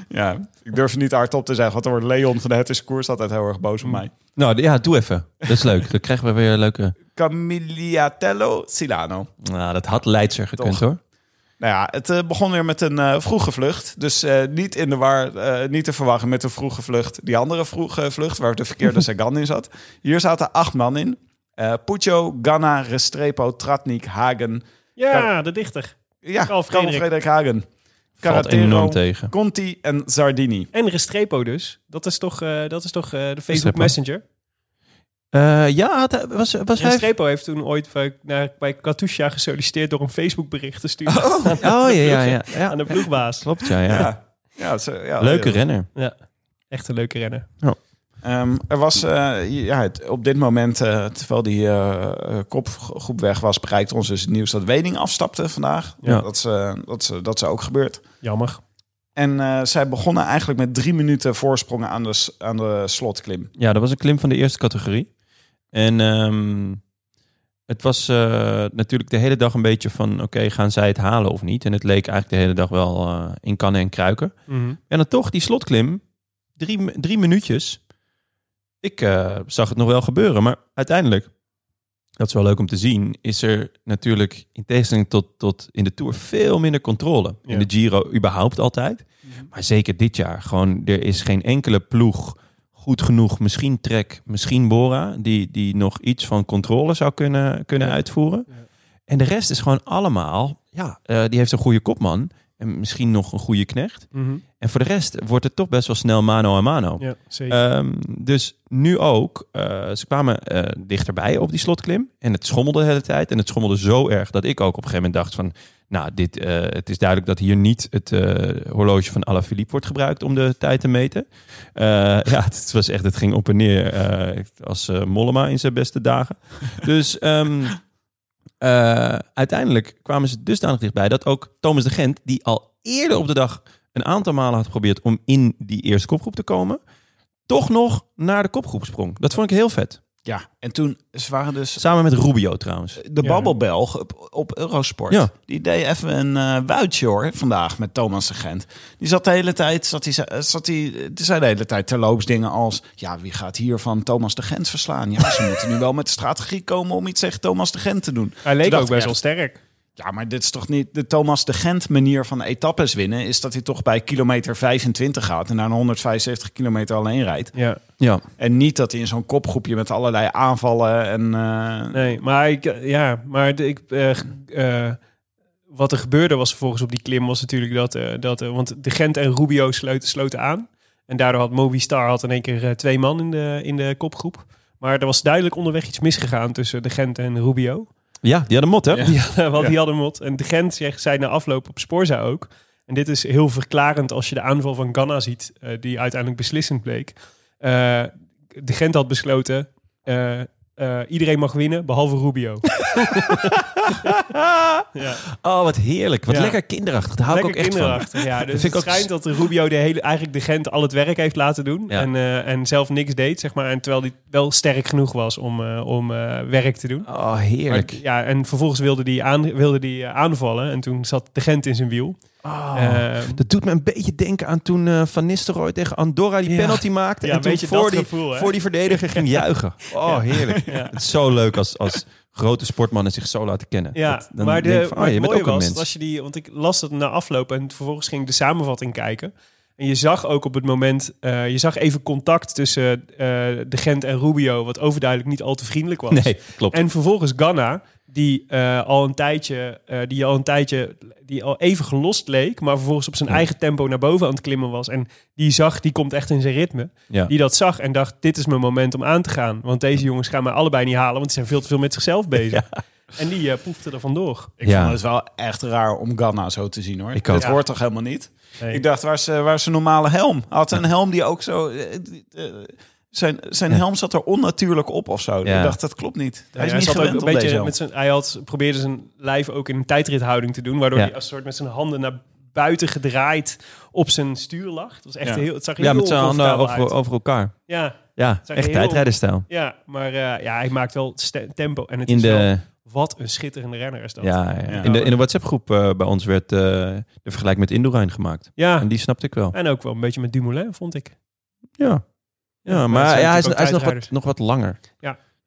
Ja, ik durf het niet hardop te zeggen, want dan wordt Leon van de Het is Koers altijd heel erg boos op mij.
Nou d- ja, doe even. Dat is [laughs] leuk. Dan krijgen we weer een leuke...
Camilliatello Silano.
Nou, dat had Leidser gekund
Toch.
hoor.
Nou ja, het eh, begon weer met een eh, vroege vlucht. Dus eh, niet in de war, eh, niet te verwarren met de vroege vlucht. Die andere vroege vlucht, waar de verkeerde Sagan in zat. Hier zaten acht man in. Eh Puccio, Ganna, Restrepo, Tratnik, Hagen.
Ja, de dichter. Karl
Ja, Karl
Frederik.
Frederik, Hagen.
Valt
Carretero,
enorm tegen.
Conti en Zardini.
En Restrepo dus. Dat is toch, eh, dat is toch eh, de Facebook
Restrepo.
Messenger.
Eh, ja, had- was, was hij...
Restrepo heeft toen ooit bij, naar, bij Katusha gesolliciteerd door een Facebook bericht te sturen
Oh ja, ja, ja. ja.
aan de ploegbaas.
Klopt, ja, ja.
Ja. Ja, zo- ja,
Leuke
ja.
renner.
Ja, echt een leuke renner.
Ehm, er was eh, ja, het- op dit moment, eh, terwijl die eh, eh, kopgroep weg was, bereikt ons dus het nieuws dat Wening afstapte vandaag.
Ja.
Dat, is, eh, dat, is, eh, dat is ook gebeurd.
Jammer.
En eh, zij begonnen eigenlijk met drie minuten voorsprong aan de, s- aan de slotklim.
Ja, dat was een klim van de eerste categorie. En ehm, het was eh, natuurlijk de hele dag een beetje van... Oké, gaan zij het halen of niet? En het leek eigenlijk de hele dag wel eh, in kannen en kruiken. En dan toch die slotklim, drie, drie minuutjes. Ik eh, zag het nog wel gebeuren, maar uiteindelijk, dat is wel leuk om te zien, is er natuurlijk in tegenstelling tot, tot in de Tour veel minder controle. In
Ja. Mhm.
de Giro überhaupt altijd, maar zeker dit jaar. Gewoon, er is geen enkele ploeg goed genoeg, misschien Trek, misschien Bora, die, die nog iets van controle zou kunnen, kunnen uitvoeren. En de rest is gewoon allemaal, ja, eh, die heeft een goede kopman en misschien nog een goede knecht. En voor de rest wordt het toch best wel snel mano a mano.
Mhm. Ja, zeker.
Ehm, dus nu ook, eh, ze kwamen eh, dichterbij op die slotklim. En het schommelde de hele tijd. En het schommelde zo erg dat ik ook op een gegeven moment dacht van... Nou, dit, eh, het is duidelijk dat hier niet het eh, horloge van Alaphilippe wordt gebruikt om de tijd te meten. Eh, [laughs] ja, het, was echt, het ging op en neer eh, als eh, Mollema in zijn beste dagen. Dus ehm, eh, uiteindelijk kwamen ze dusdanig dichtbij dat ook Thomas de Gent, die al eerder op de dag een aantal malen had geprobeerd om in die eerste kopgroep te komen, toch nog naar de kopgroep sprong. Dat vond ik heel vet.
Ja, en toen ze waren dus
Samen met Rubio trouwens.
de
Ja.
babbelbelg op, op Eurosport.
Ja.
Die deed even een eh wuitje hoor, vandaag met Thomas de Gent. Die zat de hele tijd, zat die, zat die, die zei de hele tijd terloops dingen als... Ja, wie gaat hier van Thomas de Gent verslaan? Ja, ze [laughs] moeten nu wel met de strategie komen om iets tegen Thomas de Gent te doen.
Hij
Toen
leek
dacht
ook
ik
best wel
echt,
sterk.
Ja, maar dit is toch niet de Thomas de Gent manier van etappes winnen? Is dat hij toch bij kilometer 25 gaat en naar een 175 kilometer alleen rijdt?
Ja.
Ja.
En niet dat hij in zo'n kopgroepje met allerlei aanvallen en... eh,
Nee, maar ik, ja, maar de- ik, eh, eh, wat er gebeurde was vervolgens op die klim was natuurlijk dat, eh, dat eh, want de Gent en Rubio sloten, sloten aan. En daardoor had Movistar had in één keer eh, twee man in de, in de kopgroep. Maar er was duidelijk onderweg iets misgegaan tussen de Gent en Rubio.
Ja, die hadden mot, hè?
Die hadden, [laughs] want die hadden mot. En de Gent zegt, zei na afloop op Sporza ook. En dit is heel verklarend als je de aanval van Ghana ziet, eh, die uiteindelijk beslissend bleek. Eh, de Gent had besloten, eh, eh, iedereen mag winnen, behalve Rubio. [laughs] ja,
Oh, wat heerlijk. Wat
Ja.
lekker kinderachtig. Daar hou ik ook echt van.
kinderachtig. Ja, dus
vind ik
het
ook-
schijnt dat de Rubio de hele, eigenlijk de Gent al het werk heeft laten doen.
Ja.
En, eh, en zelf niks deed, zeg maar. En terwijl hij wel sterk genoeg was om, eh, om eh, werk te doen.
Oh, heerlijk.
Maar- ja, en vervolgens wilde die, aan, wilde die eh, aanvallen. En toen zat de Gent in zijn wiel.
Oh.
Eh,
Dat doet me een beetje denken aan toen eh, Van Nistelrooy tegen Andorra die
Ja.
penalty maakte.
Ja,
en
een
toen
beetje
voor
dat
die,
gevoel, hè?
voor die verdediger
[laughs]
ging juichen. Oh, heerlijk. Het is zo leuk als, als grote sportmannen zich zo laten kennen.
ja,
Dat- dan
maar, de,
denk ik van, oh,
maar
je
het
bent
mooie
ook een
was,
mens.
dat als je die, want ik las dat na afloop en vervolgens ging ik de samenvatting kijken. En je zag ook op het moment, eh, je zag even contact tussen eh, de Gent en Rubio, wat overduidelijk niet al te vriendelijk
[laughs]
was.
Nee, klopt.
En vervolgens Ghana, die, eh, al een tijdje, eh, die al een tijdje die al even gelost leek, maar vervolgens op zijn eigen tempo naar boven aan het klimmen was. En die zag, die komt echt in zijn ritme.
Ja.
Die dat zag en dacht, dit is mijn moment om aan te gaan. Want deze jongens gaan mij allebei niet halen, want die zijn veel te veel met zichzelf
[laughs]
bezig. En die eh, poefde er vandoor.
Ik
Ja.
vond het wel echt raar om Ghana zo te zien hoor.
Ik
Ik
ook.
Dat
Ja.
hoort toch helemaal niet?
Nee.
Ik dacht, waar is, eh, waar is zijn normale helm? Hij Had een helm die ook zo... eh, eh, zijn zijn helm zat er onnatuurlijk op of zo.
Ja.
Ik dacht, dat klopt niet. Hij is
Ja, hij
niet
zat ook
gewend op
een
deze
beetje
helm.
met zijn, hij had, probeerde zijn lijf ook in een tijdrithouding te doen, waardoor
Ja.
hij als soort met zijn handen naar buiten gedraaid op zijn stuur lag. Het was echt
Ja.
heel, het zag er
ja,
heel
met z'n handen
oncomfortabel
over,
uit.
over elkaar.
Ja,
Ja,
Zag
echt
heel-
tijdrijdenstijl.
ja, maar eh, ja, hij maakt wel ste- tempo en het
In
is wel,
de,
wat een schitterende renner is dat. eh,
ja, ja. In de, in de WhatsApp-groep eh, bij ons werd eh, de vergelijking met Indoorijn gemaakt.
Ah. Ja,
En die snapte ik wel.
en ook wel een beetje met Dumoulin, vond ik.
Ja, ja
maar het
maar
zijn
ja, hij is,
natuurlijk
hij is
ook
nog, wat,
tijdrijders.
nog wat langer.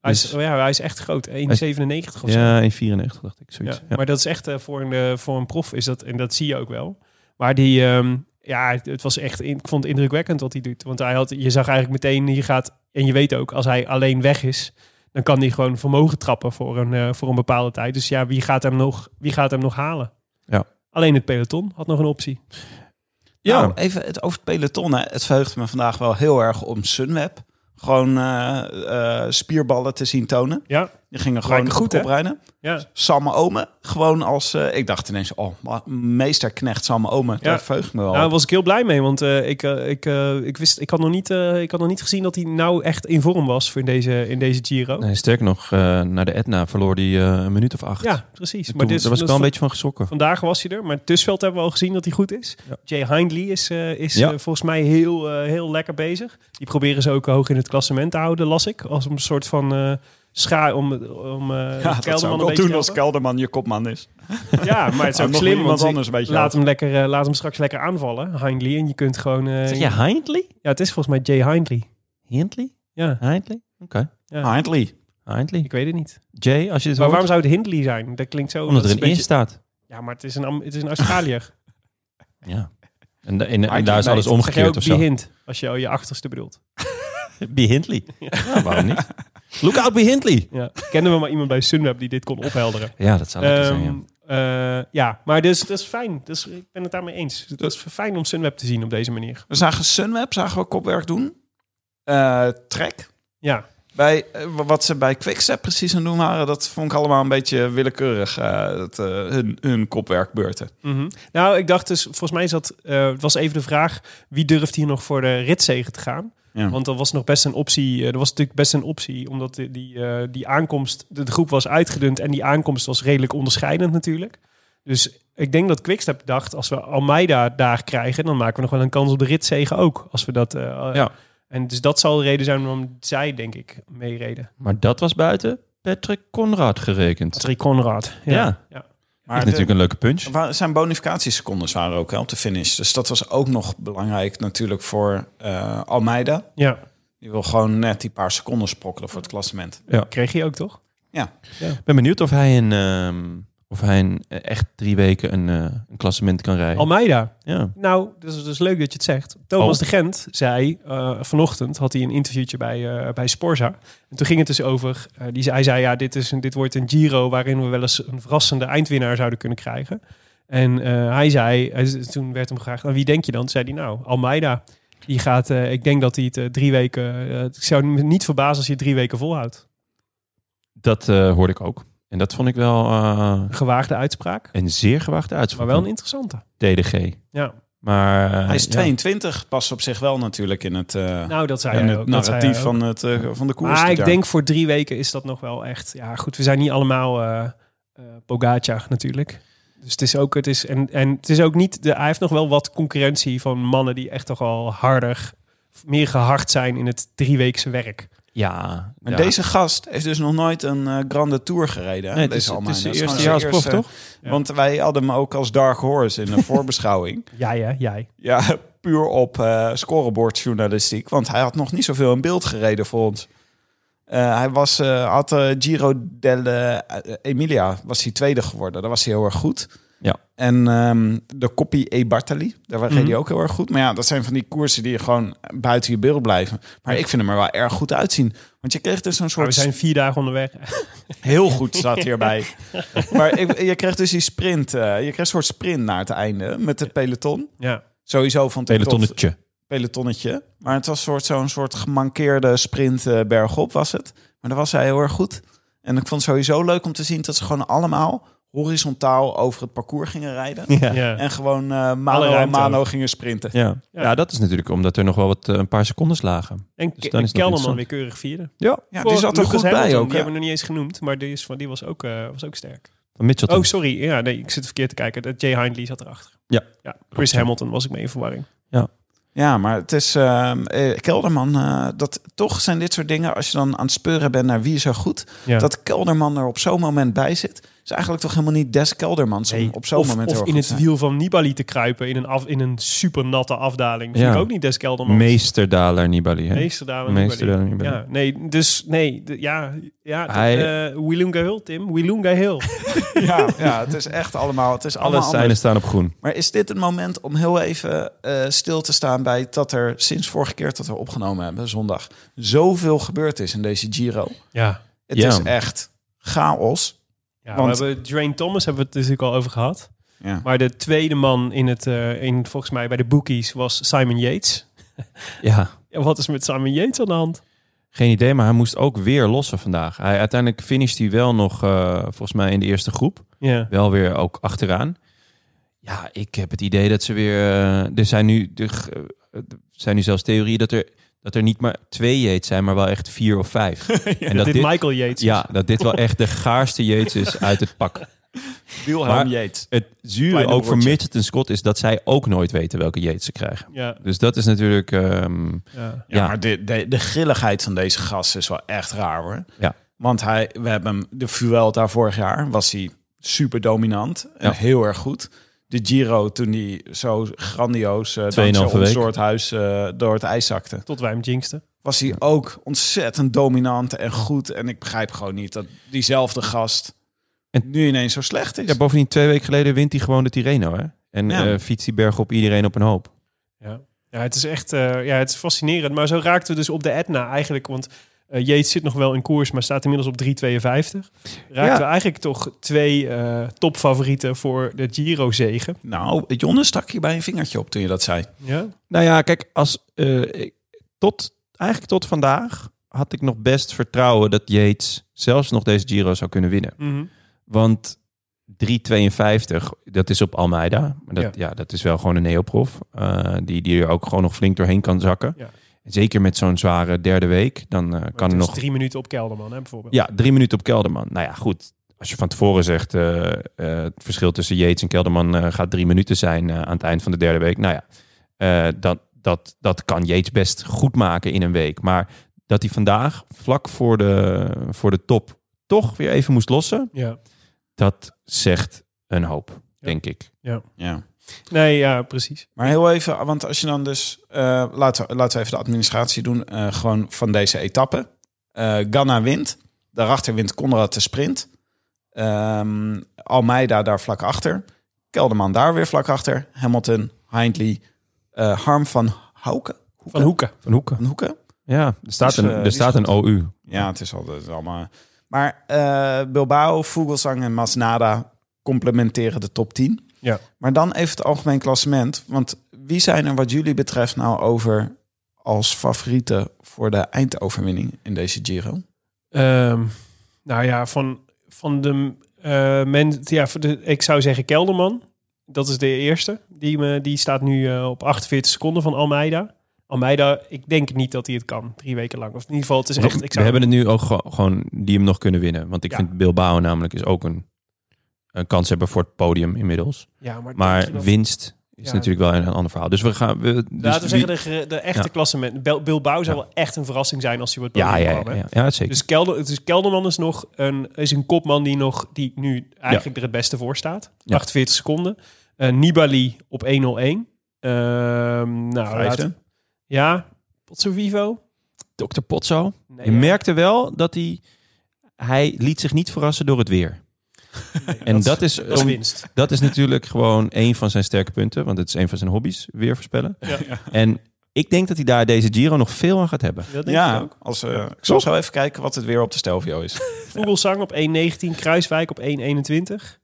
Hij is,
Dus-
oh ja, hij is echt groot, 1,97 of zo.
Ja, in 94 dacht ik,
Ja,
zoiets. Ja.
Maar dat is echt eh, voor, een, eh, voor een prof is dat, en dat zie je ook wel. Maar die, ehm, ja, het- het was echt, in- ik vond het indrukwekkend wat hij doet. Want hij had, je zag eigenlijk meteen, je gaat, en je weet ook, als hij alleen weg is, dan kan hij gewoon vermogen trappen voor een, eh, voor een bepaalde tijd. Dus ja, wie gaat hem nog, wie gaat hem nog halen?
Ja.
Alleen het peloton had nog een optie.
Ja.
Nou, even het over het peloton. Hè. Het verheugt me vandaag wel heel erg om Sunweb. Gewoon eh, eh, spierballen te zien tonen.
Ja,
Die gingen
Lijken
gewoon goed
goed, hè?
oprijden.
ja.
Samme Ome, gewoon als... eh, ik dacht ineens, oh, ma- meesterknecht Samme Ome.
Ja.
Daar verheugt me wel.
Nou, daar
op.
was ik heel blij mee, want eh, ik, eh, ik, eh, ik, wist, ik, had nog niet, eh, ik had nog niet gezien dat hij nou echt in vorm was voor in deze, in deze Giro.
Nee, sterker nog, eh, naar de Etna verloor hij eh, een minuut of acht.
Ja, precies.
En
Maar
toen-
dit,
daar was ik
dat
wel een
vo-
beetje van geschrokken.
Vandaag was hij er, maar Tussveld hebben we al gezien dat hij goed is.
Ja.
Jay Hindley is, eh, is
Ja.
eh, volgens mij heel, eh, heel lekker bezig. Die proberen ze ook hoog in het klassement te houden, las ik. Als een soort van eh schaar om, om eh,
ja, dat zou ik
Kelderman
wel
een beetje
doen
te
als
helpen.
Kelderman je kopman is.
Ja, maar het is
Ah,
ook
nog
slim,
iemand
want
anders een beetje
laat
helpen.
hem, lekker, eh, laat hem straks lekker aanvallen, Hindley. En je kunt gewoon... eh,
Zeg je Hindley?
Ja, het is volgens mij Jay Hindley.
Hindley?
Ja,
Hindley? Oké.
Ja.
Hindley.
Hindley.
ik weet het niet.
Jay, als je dit
Maar
hoort.
waarom zou het Hindley zijn? Dat klinkt zo...
Omdat
dat
er
is
een
een
in
beetje-
staat.
Ja, maar het is een, Am- het is een Australiër.
Ja. En, da- en, en
Hindley
daar is alles
Knight.
Zeg jij
omgekeerd
ook
of
die
zo.
hint, als je je achterste bedoelt.
Be
[laughs]
Hindley. Ja, waarom niet? Look out, Be Hindley.
Ja. Kennen we maar iemand bij Sunweb die dit kon ophelderen?
Ja, dat zou lekker zijn, ja.
Ehm, eh, ja, maar dus, dat is fijn. Dus, ik ben het daarmee eens. Het is fijn om Sunweb te zien op deze manier.
We zagen Sunweb, zagen we kopwerk doen. Eh Trek.
Ja,
Bij, eh, wat ze bij Quickstep precies aan het doen waren, dat vond ik allemaal een beetje willekeurig. eh, dat, eh, hun, hun kopwerkbeurten.
mhm. nou, ik dacht dus, volgens mij zat, eh, het was even de vraag, wie durft hier nog voor de ritzegen te gaan?
Ja.
Want dat was nog best een optie. eh, Er was natuurlijk best een optie, omdat die, die, eh, die aankomst, de, de groep was uitgedund en die aankomst was redelijk onderscheidend natuurlijk. Dus ik denk dat Quickstep dacht, als we Almeida daar krijgen, dan maken we nog wel een kans op de ritzegen ook. Als we dat, eh,
Ja.
En dus dat zal de reden zijn waarom zij, denk ik, meereden.
Maar dat was buiten Patrick Conrad gerekend.
Patrick Conrad. Ja.
Ja.
Maar de-
Natuurlijk een leuke punch.
Wa- Zijn bonificatiesecondes waren ook hè, op de finish. Dus dat was ook nog belangrijk natuurlijk voor eh, Almeida.
ja.
Die wil gewoon net die paar seconden sprokkelen voor het klassement.
Kreeg je ook, toch?
Ik ben benieuwd of hij een... ehm, of hij een, eh, echt drie weken een, eh, een klassement kan rijden.
Almeida.
ja.
Nou, dat is dus leuk dat je het zegt. Thomas
Oh.
de Gent zei eh, vanochtend, had hij een interviewtje bij, eh bij Sporza. En toen ging het dus over, eh, die, zei- hij zei ja, dit, is een, dit wordt een Giro waarin we wel eens een verrassende eindwinnaar zouden kunnen krijgen. En eh, hij zei, hij- toen werd hem gevraagd, aan wie denk je dan? Toen zei hij nou, Almeida. Die gaat, eh, ik denk dat hij het eh, drie weken. eh, ik zou me niet verbazen als hij het drie weken volhoudt.
Dat eh, hoorde ik ook. En dat vond ik wel eh,
Een gewaagde uitspraak,
een zeer gewaagde uitspraak.
maar wel een interessante.
TDG.
Ja.
Maar, eh,
Hij is
ja.
22, past op zich wel natuurlijk in het, eh,
Nou, dat zei
in
hij
het
ook. dat zei
narratief
hij ook.
van, het, eh, van de koers.
Maar
dit
ik
jaar.
denk voor drie weken is dat nog wel echt. Ja, goed, we zijn niet allemaal eh eh, Pogacar natuurlijk. Dus het is ook, het is, en, en het is ook niet, de, hij heeft nog wel wat concurrentie van mannen die echt toch al harder, meer gehard zijn in het drieweekse werk.
Ja.
Maar
ja.
deze gast heeft dus nog nooit een eh, grande tour gereden. hè?
Nee, het
Deze
is, het
Almeida.
is zijn
Dat is
eerste
gewoon
jaar als
zijn
prof,
eerste-
toch?
Ja.
Want wij hadden hem ook als dark
[laughs]
horse in de voorbeschouwing.
Jij hè, jij.
Ja, [laughs] puur op eh scorebordjournalistiek. Want hij had nog niet zoveel in beeld gereden voor ons. Eh, hij was, eh, had eh, Giro delle eh, Emilia, was hij tweede geworden. Daar was hij heel erg goed.
Ja.
En ehm, de Coppi e Bartali, daar reed
Mhm.
hij ook heel erg goed. Maar ja, dat zijn van die koersen die gewoon buiten je beeld blijven. Maar ik vind hem er wel erg goed uitzien. Want je kreeg dus zo'n
Maar we
soort
zijn vier dagen onderweg. [laughs]
Heel goed staat hierbij. maar ik- je kreeg dus die sprint. eh, je kreeg een soort sprint naar het einde met het peloton.
Ja.
Sowieso van het
Pelotonnetje.
pelotonnetje. Maar het was soort, zo'n soort gemankeerde sprint eh, bergop was het. Maar daar was hij heel erg goed. En ik vond het sowieso leuk om te zien dat ze gewoon allemaal horizontaal over het parcours gingen rijden.
Ja. Ja.
[laughs] ja.
En gewoon eh
Alle
mano a
ruimte
mano gingen sprinten.
Ja. dat is natuurlijk omdat er nog wel wat, eh, een paar seconden lagen.
En
Dus
dus
dan is het nog
Kelderman
interessant.
weer keurig vierde.
Ja.
Ja,
Voor
die zat er
Lucas
goed bij
Hamilton,
ook.
Die
hè?
hebben we nog niet eens genoemd, maar die, is van, die was, ook, eh, was ook sterk.
Van Mitchell.
Oh, sorry. Ja, nee, ik zit verkeerd te kijken. Dat Jay Hindley zat erachter.
Ja.
ja. Chris Hamilton was ik mee in verwarring.
Ja, maar het is ehm, eh, Kelderman. eh, dat, toch zijn dit soort dingen, als je dan aan het speuren bent naar wie is er goed,
Ja.
dat Kelderman er op zo'n moment bij zit, is eigenlijk toch helemaal niet des Keldermans om op zo'n
of,
moment
of
heel
in
goed te
het
zijn.
wiel van Nibali te kruipen in een, af, in een super natte afdaling. Vind
Ja.
ik ook niet Des Kelderman.
Meesterdaler Nibali. Hè?
Meesterdaling.
Meesterdaling Nibali.
Ja, nee, dus nee, de- ja, ja dat,
Hij-
eh, Wilunga Hill, Tim. Wilunga Hill.
Ja, ja, het is echt allemaal. Het is
Alle
allemaal
seinen
anders.
staan op groen.
Maar is dit het moment om heel even eh, stil te staan bij dat er sinds vorige keer dat we opgenomen hebben, zondag, zoveel gebeurd is in deze Giro?
Ja.
Het
Ja.
is echt chaos.
ja
Want-
we hebben Drain Thomas hebben we het natuurlijk al over gehad.
Ja.
Maar de tweede man in het, eh, in, volgens mij bij de bookies was Simon Yates.
Ja.
En wat is met Simon Yates aan de hand?
Geen idee, maar hij moest ook weer lossen vandaag. Hij, uiteindelijk finisht hij wel nog, eh, volgens mij, in de eerste groep.
Ja.
Wel weer ook achteraan. Ja, ik heb het idee dat ze weer... eh, er, zijn nu, er, g- eh, er zijn nu zelfs theorieën dat er, dat er niet maar twee Yates zijn, maar wel echt vier of vijf. en
dit, Michael Yates.
ja, dat dit wel echt de gaarste Yates is uit het pak. Maar-
Yates.
Het zure
Kleine
ook voor
woordje.
Mitchell en Scott is dat zij ook nooit weten welke Yates ze krijgen.
Ja.
Dus dat is natuurlijk... ehm,
ja.
Ja,
Ja.
maar de, de, de grilligheid van deze gast is wel echt raar hoor.
Ja.
Want hij, we hebben hem, de Vuelta vorig jaar, was hij super dominant en
Ja.
heel erg goed. De Giro toen hij zo grandioos eh dankzij
2,5
ons
week.
door het huis, eh, door het ijs zakte.
Tot wij hem jinxten.
Was hij ook ontzettend dominant en goed. En ik begrijp gewoon niet dat diezelfde gast
En-
nu ineens zo slecht is.
Ja, bovendien twee weken geleden wint hij gewoon de Tirreno, hè? En
Ja.
eh, fietst die berg op iedereen op een hoop.
Ja. ja, het is echt eh, ja, het is fascinerend. Maar zo raakten we dus op de Etna eigenlijk. Want eh Yates zit nog wel in koers, maar staat inmiddels op 3,52. Raakten
Ja.
we eigenlijk toch twee eh, topfavorieten voor de Giro-zegen.
Nou, Jonne stak je bij een vingertje op toen je dat zei.
Ja.
Nou ja, kijk, als, eh, ik- tot, eigenlijk tot vandaag had ik nog best vertrouwen dat Yates zelfs nog deze Giro zou kunnen winnen.
Mhm.
Want 3,52, dat is op Almeida. Maar dat, ja. dat is wel gewoon een neoprof. eh, die, die er ook gewoon nog flink doorheen kan zakken.
Ja.
En Zeker met zo'n zware derde week. Dan eh, kan
Het
er
is
nog
drie minuten op Kelderman, hè, bijvoorbeeld.
Ja, drie minuten op Kelderman. Nou ja, goed. Als je van tevoren zegt, eh, eh, het verschil tussen Yates en Kelderman eh, gaat drie minuten zijn eh, aan het eind van de derde week. Nou ja, eh, dat, dat, dat kan Yates best goed maken in een week. Maar dat hij vandaag vlak voor de, voor de top toch weer even moest lossen,
Ja.
dat zegt een hoop, denk ik.
Ja.
Nee, ja, precies.
Maar heel even, want als je dan dus... eh, laten, we, laten we even de administratie doen, eh, gewoon van deze etappe. Eh Ganna wint. Daarachter wint Conrad de sprint. Ehm, Almeida daar vlak achter. Kelderman daar weer vlak achter. Hamilton, Hindley, eh, Harm van Hauke.
Van Hoeken.
Van Hoeken.
Van Hoeken.
Ja, er staat,
Die is,
een,
eh,
er
die is
staat een OU.
Ja, het is altijd allemaal. Maar eh, Bilbao, Vogelsang en Masnada complementeren de top 10.
Ja.
Maar dan even het algemeen klassement. Want wie zijn er wat jullie betreft nou over als favorieten voor de eindoverwinning in deze Giro?
Ehm, nou ja, van, van de eh men, ja, van de, ik zou zeggen Kelderman. Dat is de eerste. Die, me, die staat nu eh, op 48 seconden van Almeida. Almeida, ik denk niet dat hij het kan. Drie weken lang. Of in ieder geval, het is echt... Ik
We
zou,
hebben het nu ook ge- gewoon die hem nog kunnen winnen. Want ik
Ja.
vind Bilbao namelijk is ook een, een kans hebben voor het podium inmiddels.
ja, maar
Maar
denk je dat-
winst is
Ja.
natuurlijk wel een, een ander verhaal. Dus we gaan... We, dus
Laten we
wie-
zeggen, de, ge- de echte
Ja.
klassement. Bil- Bilbao zou wel echt een verrassing zijn als hij wordt
ja, ja, ja,
bovengekomen, hè?
ja, ja, zeker.
Dus, Kelder, dus Kelderman is nog een, is een kopman die, nog, die nu eigenlijk er het beste voor staat.
Ja.
48 seconden. Eh, Nibali op 101. Ehm nou,
Vijfde.
laat- ja, Potso Vivo.
Dr. Potso.
Nee,
je
ja.
merkte wel dat hij... Hij liet zich niet verrassen door het weer. en dat, is,
Dat is
om-
winst.
dat is natuurlijk gewoon een van zijn sterke punten. Want het is een van zijn hobby's, weer voorspellen. En ik denk dat hij daar deze Giro nog veel aan gaat hebben.
Dat denk ik
Ja,
ook.
als, eh, ik zal zo even kijken wat het weer op de Stelvio is.
Vogelsang op 1.19. Kruiswijk op 1.21.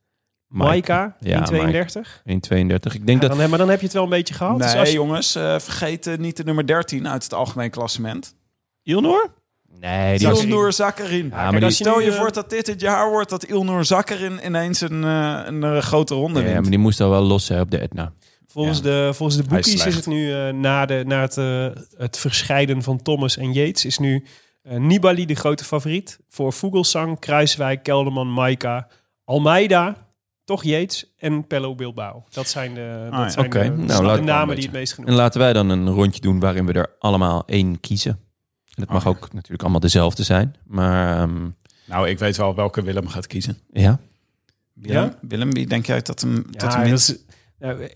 Maika
Ja,
1.32.
1,32. Ik denk
Ja,
dat...
dan heb- maar dan heb je het wel een beetje gehad. Dus
nee,
als je-
jongens, eh, vergeet eh, niet de nummer 13 uit het algemeen klassement.
Ilnor? Nee, die was...
Ilnur Zakarin.
Ja, maar
als
die,
je
Stel
nu,
je
eh,
voor dat dit het jaar wordt dat Ilnur Zakarin ineens een, eh, een eh, grote ronde
ja,
wint.
maar die moest al wel lossen op de Etna.
Volgens,
Ja.
de, volgens de
Hij is
boekies is
slecht.
het nu eh, na, de, na het, eh, het verscheiden van Thomas en Yates is nu eh, Nibali de grote favoriet voor Vogelsang, Kruiswijk, Kelderman, Maika, Almeida, toch Yates en Pello Bilbao. Dat zijn de,
Ah,
dat
ja.
zijn
Oké,
de,
nou,
de
laat ik wel een
namen die
beetje.
het meest genoemd
En laten wij dan een rondje doen waarin we er allemaal één kiezen. En dat
Oh,
mag ook natuurlijk allemaal dezelfde zijn. Maar ehm,
Nou, ik weet wel welke Willem gaat kiezen.
ja,
Willem,
Ja?
Willem wie denk jij dat hem,
Ja,
dat hem
dat
wint?
is- nou, eh,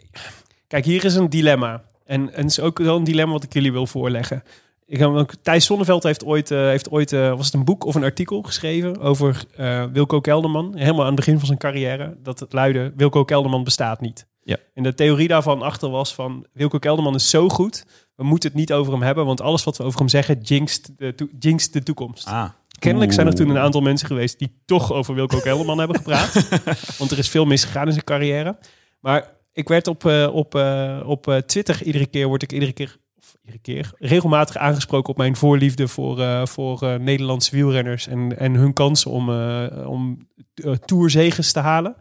kijk, hier is een dilemma. En, en het is ook wel een dilemma wat ik jullie wil voorleggen. Ik heb ook, Thijs Zonneveld heeft ooit, eh, heeft ooit eh, was het een boek of een artikel geschreven over eh, Wilco Kelderman. Helemaal aan het begin van zijn carrière. Dat het luidde, Wilco Kelderman bestaat niet.
Ja.
En de theorie daarvan achter was van, Wilco Kelderman is zo goed. We moeten het niet over hem hebben, want alles wat we over hem zeggen jinxt de, to- jinxt de toekomst.
Ah,
Kennelijk zijn er toen een aantal mensen geweest die toch over Wilco Kelderman hebben gepraat. Want er is veel misgegaan in zijn carrière. Maar ik werd op, eh, op, eh, op eh, Twitter iedere keer, word ik iedere keer, of iedere keer, regelmatig aangesproken op mijn voorliefde voor, eh, voor eh, Nederlandse wielrenners en, en hun kansen om, eh om eh, toerzegens te halen.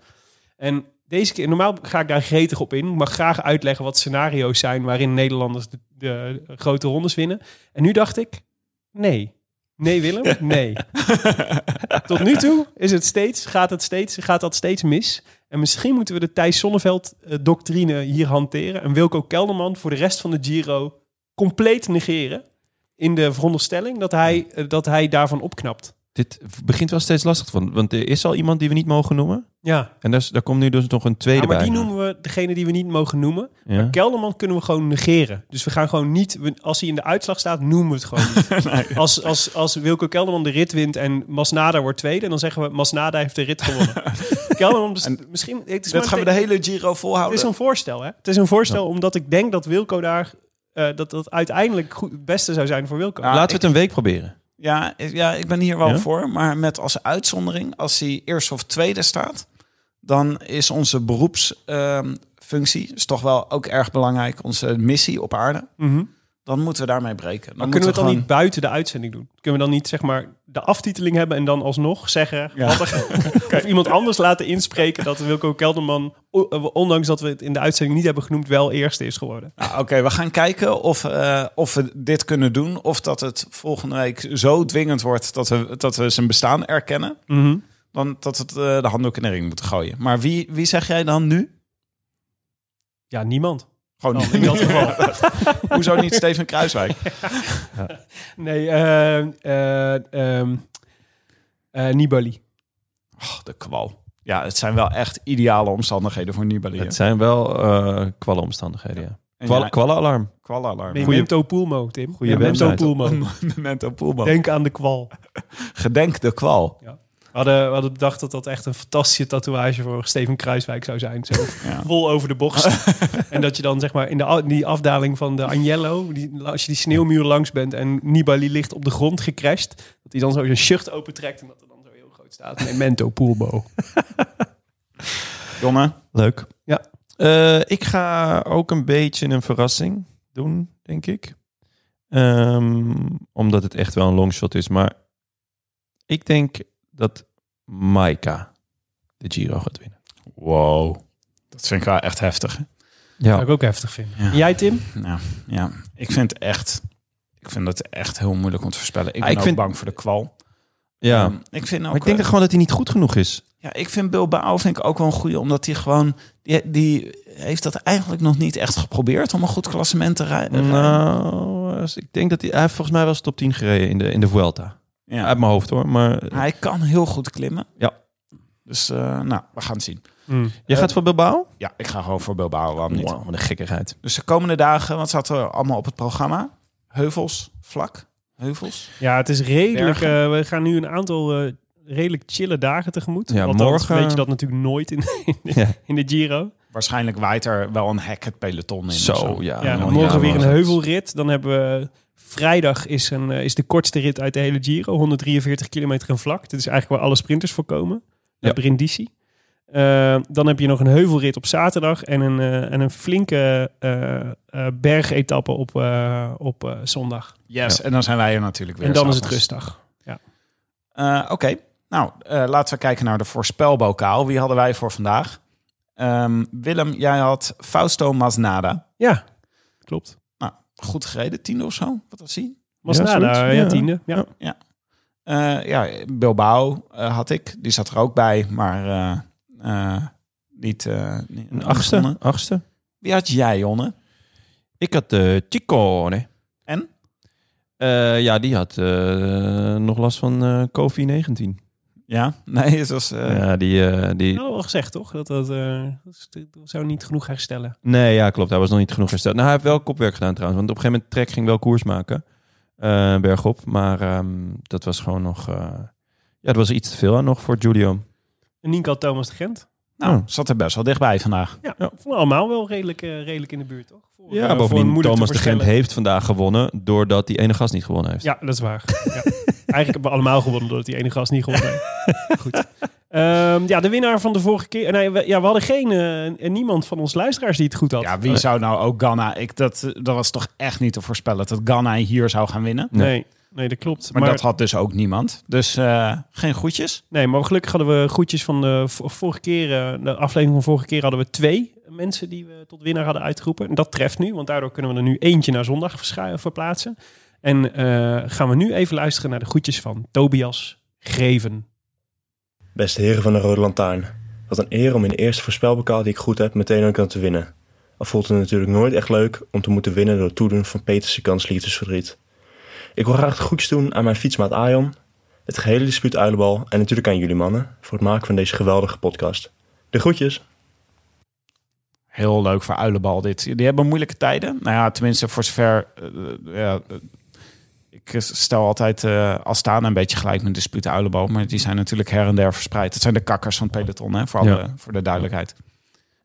En deze keer, normaal ga ik daar gretig op in. Ik mag graag uitleggen wat scenario's zijn waarin Nederlanders de, de grote rondes winnen. En nu dacht ik, nee. Nee, Willem? Nee. Tot nu toe is het steeds, gaat, het steeds, gaat dat steeds mis. En misschien moeten we de Thijs Zonneveld-doctrine hier hanteren. En Wilco Kelderman voor de rest van de Giro compleet negeren. In de veronderstelling dat hij, eh, dat hij daarvan opknapt.
dit begint wel steeds lastig. Van, want er is al iemand die we niet mogen noemen.
Ja,
En daar, is- daar komt nu dus nog een tweede
Ja, maar
bij.
die noemen we degene die we niet mogen noemen.
Ja.
Kelderman kunnen we gewoon negeren. Dus we gaan gewoon niet, we- als hij in de uitslag staat, noemen we het gewoon
[laughs]
niet. als, als, als Wilco Kelderman de rit wint en Masnada wordt tweede, dan zeggen we Masnada heeft de
[laughs]
rit gewonnen. Kelderman, bes- misschien. Het is, maar
dat gaan we de
een-
hele Giro
het is
volhouden.
een voorstel, hè? Het is een voorstel omdat ik denk dat Wilco daar, eh, dat dat uiteindelijk goed, het beste zou zijn voor Wilco.
Ja,
Laten we het een week proberen.
Ja, ik- ja, ik ben hier wel
Ja?
voor. Maar met als uitzondering, als hij eerst of tweede staat, dan is onze beroepsfunctie is toch wel ook erg belangrijk. Onze missie op aarde.
Mhm.
Dan moeten we daarmee breken.
Maar
Dan
kunnen we het dan
moeten
niet buiten de uitzending doen? Kunnen we dan niet zeg maar de aftiteling hebben en dan alsnog zeggen wat [laughs] er- of iemand anders laten inspreken dat Wilco Kelderman, o- eh, ondanks dat we het in de uitzending niet hebben genoemd, wel eerste is geworden?
Nou, Oké, we gaan kijken of, eh, of we dit kunnen doen. Of dat het volgende week zo dwingend wordt dat we, dat we zijn bestaan erkennen.
Mhm.
Dan dat we het, eh, de handdoek in de ring moeten gooien. Maar wie, wie zeg jij dan nu?
Ja, niemand.
Gewoon
Dan, Oh, in dat geval.
[laughs] Hoezo niet Steven Kruiswijk?
Nee, eh, eh, ehm, eh, Nibali.
Ach, Oh, de kwal. Ja, het zijn wel echt ideale omstandigheden voor Nibali. hè?
Het zijn wel eh kwalle omstandigheden, ja.
En
Kwal-
ja,
Kwallenalarm.
kwalalarm.
Nee,
Goeie-
Memento Pulmo, Tim.
Goeie
Memento
website.
[laughs]
Pulmo.
Memento Poelman.
Denk aan de kwal.
Gedenk de kwal.
We hadden, we hadden bedacht dat dat echt een fantastische tatoeage voor Steven Kruiswijk zou
[laughs]
zijn. Zo
Ja.
vol over de bocht. en dat je dan zeg maar in de, a- die afdaling van de Agnello, die, als je die sneeuwmuur langs bent en Nibali ligt op de grond gecrashed, dat hij dan zo zijn shirt opentrekt en dat er dan zo
[laughs]
heel groot staat. Memento Pulbo.
Jongen,
Leuk.
Ja.
Oké, Eh, ik ga ook een beetje een verrassing doen, denk ik. Ehm, omdat het echt wel een longshot is. Maar ik denk dat Maika de Giro gaat winnen.
Wow. Dat vind ik wel echt heftig.
Zou ik ook heftig vinden.
Ja.
Jij, Tim?
Nou, ja. Ik vind het echt... Ik vind het echt heel moeilijk om te voorspellen.
Ah,
Ik ben
ik
ook
vind-
bang voor de kwal.
Ja,
Ehm, ik vind ook...
maar ik denk dat gewoon dat hij niet goed genoeg is.
Ja, ik vind Bilbao vind ik ook wel een goede, omdat hij gewoon... Die, die heeft dat eigenlijk nog niet echt geprobeerd om een goed klassement te rij- eh, rijden.
Nou, als- ik denk dat hij, hij heeft volgens mij wel eens top 10 gereden in de, in de Vuelta.
ja.
Uit mijn hoofd hoor. Maar eh,
Hij kan heel goed klimmen.
Ja.
Dus eh, nou, we gaan het zien.
Hmm.
jij gaat voor Bilbao?
Ja, ik ga gewoon voor Bilbao. Waarom niet?
Wow, eh, wat een gekkigheid.
Dus de komende dagen, wat staat er allemaal op het programma? Heuvels, vlak, heuvels.
Ja, het is redelijk. eh, we gaan nu een aantal eh, redelijk chille dagen tegemoet.
Ja,
Althans,
morgen-
weet je dat natuurlijk nooit in, [laughs]
Ja.
in de Giro.
Waarschijnlijk waait er wel een hek het peloton in. of
Zo, ja.
Ja,
man,
morgen
ja,
weer
man.
een heuvelrit. Dan hebben we... Vrijdag is, een, eh, is de kortste rit uit de hele Giro. 143 kilometer en vlak. Dit is eigenlijk waar alle sprinters voor komen.
Ja.
Naar Brindisi. Eh, dan heb je nog een heuvelrit op zaterdag. En een, eh, en een flinke eh eh, bergetappe op, eh, op eh, zondag.
Yes, en dan zijn wij er natuurlijk weer.
en dan is het
s'avonds.
rustdag.
Eh, Oké, nou eh, laten we kijken naar de voorspelbokaal. Wie hadden wij voor vandaag? Ehm, Willem, jij had Fausto Masnada.
Ja, klopt.
Goed gereden, tiende of zo. Wat was hij?
Masnada,
zoiets.
ja,
Ja.
tiende. Ja.
Eh, ja, Bilbao eh, had ik. Die zat er ook bij, maar eh, eh, niet... eh, niet-
Een achtste,
Jonne.
achtste.
Wie had jij, Jonne?
Ik had eh Chicone.
En?
Eh, ja, die had eh, nog last van eh COVID-19.
Ja, nee, het was... eh,
ja, die, eh, die...
Dat hadden we al gezegd, toch? Dat, dat, eh, dat is- dat zou niet genoeg herstellen.
Nee, ja, klopt. Hij was nog niet genoeg hersteld. Nou, hij heeft wel kopwerk gedaan trouwens. Want op een gegeven moment Trek ging wel koers maken. eh, bergop. Maar ehm, dat was gewoon nog... eh, ja, dat was er iets te veel aan nog voor Giulio.
En Nienke had Thomas de Gent.
Oh.
Nou, zat er best wel dichtbij vandaag.
Ja, vonden we allemaal wel redelijk, eh, redelijk in de buurt, toch? Voor, eh,
Ja,
voor een
bovendien
moeder te
Thomas de Gent
voorspellen.
heeft vandaag gewonnen... doordat die ene gast niet gewonnen heeft.
Ja, dat is waar.
[laughs]
Ja. Eigenlijk hebben we allemaal gewonnen doordat die ene gast niet gewonnen heeft.
[laughs]
Goed. Ehm, ja, de winnaar van de vorige keer. Nee, we, ja, we hadden geen, eh, niemand van ons luisteraars die het goed had.
Ja,
eh,
wie zou nou ook Ghana... Ik, dat, eh, dat was toch echt niet te voorspellen dat Ghana hier zou gaan winnen. Maar,
Eh, Nee, nee, dat klopt. Maar,
dat had dus ook niemand. Dus eh, geen groetjes.
nee, maar gelukkig hadden we goedjes van de v- vorige keer. eh, de aflevering van vorige keer hadden we twee mensen die we tot winnaar hadden uitgeroepen. En dat treft nu, want daardoor kunnen we er nu eentje naar zondag verschu- verplaatsen. En eh, gaan we nu even luisteren naar de goedjes van Tobias Greven.
Beste heren van de Rode Lantaarn. Wat een eer om in de eerste voorspelbokaal die ik goed heb meteen ook aan te winnen. Al voelt het natuurlijk nooit echt leuk om te moeten winnen door het toedoen van Peterse Kans liefdesverdriet. Ik wil graag het goeds doen aan mijn fietsmaat Aion, het gehele dispuut Uilenbal en natuurlijk aan jullie mannen voor het maken van deze geweldige podcast. De groetjes!
Heel leuk voor Uilenbal dit. Die hebben moeilijke tijden. Nou ja, tenminste voor zover... eh, eh, ja, eh, ik stel altijd eh Astana een beetje gelijk met dispuut Uilenbal. Maar die zijn natuurlijk her en der verspreid. Dat zijn de kakkers van het peloton, hè, voor, alle,
Ja.
voor de duidelijkheid.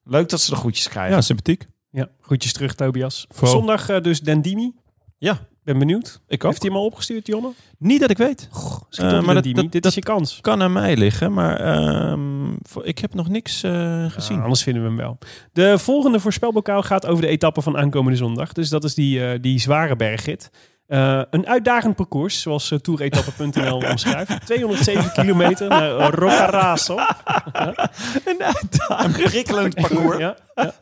Leuk dat ze de groetjes krijgen.
Ja, sympathiek.
Ja, groetjes terug, Tobias.
Vooral.
Zondag eh, dus Dendimi.
Ja.
Ben benieuwd.
Ik ook.
Heeft hij hem al opgestuurd, Jonne?
Niet dat ik weet.
Schiet
Eh,
op,
maar dat-
Dendimi.
dat-
Dit
dat-
is je kans.
Kan aan mij liggen, maar ehm, voor- ik heb nog niks eh, gezien.
Ah, anders vinden we hem wel. De volgende voorspelbokaal gaat over de etappe van aankomende zondag. Dus dat is die, eh, die zware bergrit. Eh, een uitdagend parcours, zoals
[laughs]
eh, toeretappe.nl omschrijft. 207 kilometer naar Roccaraso.
Een prikkelend parcours.
Ja, ja.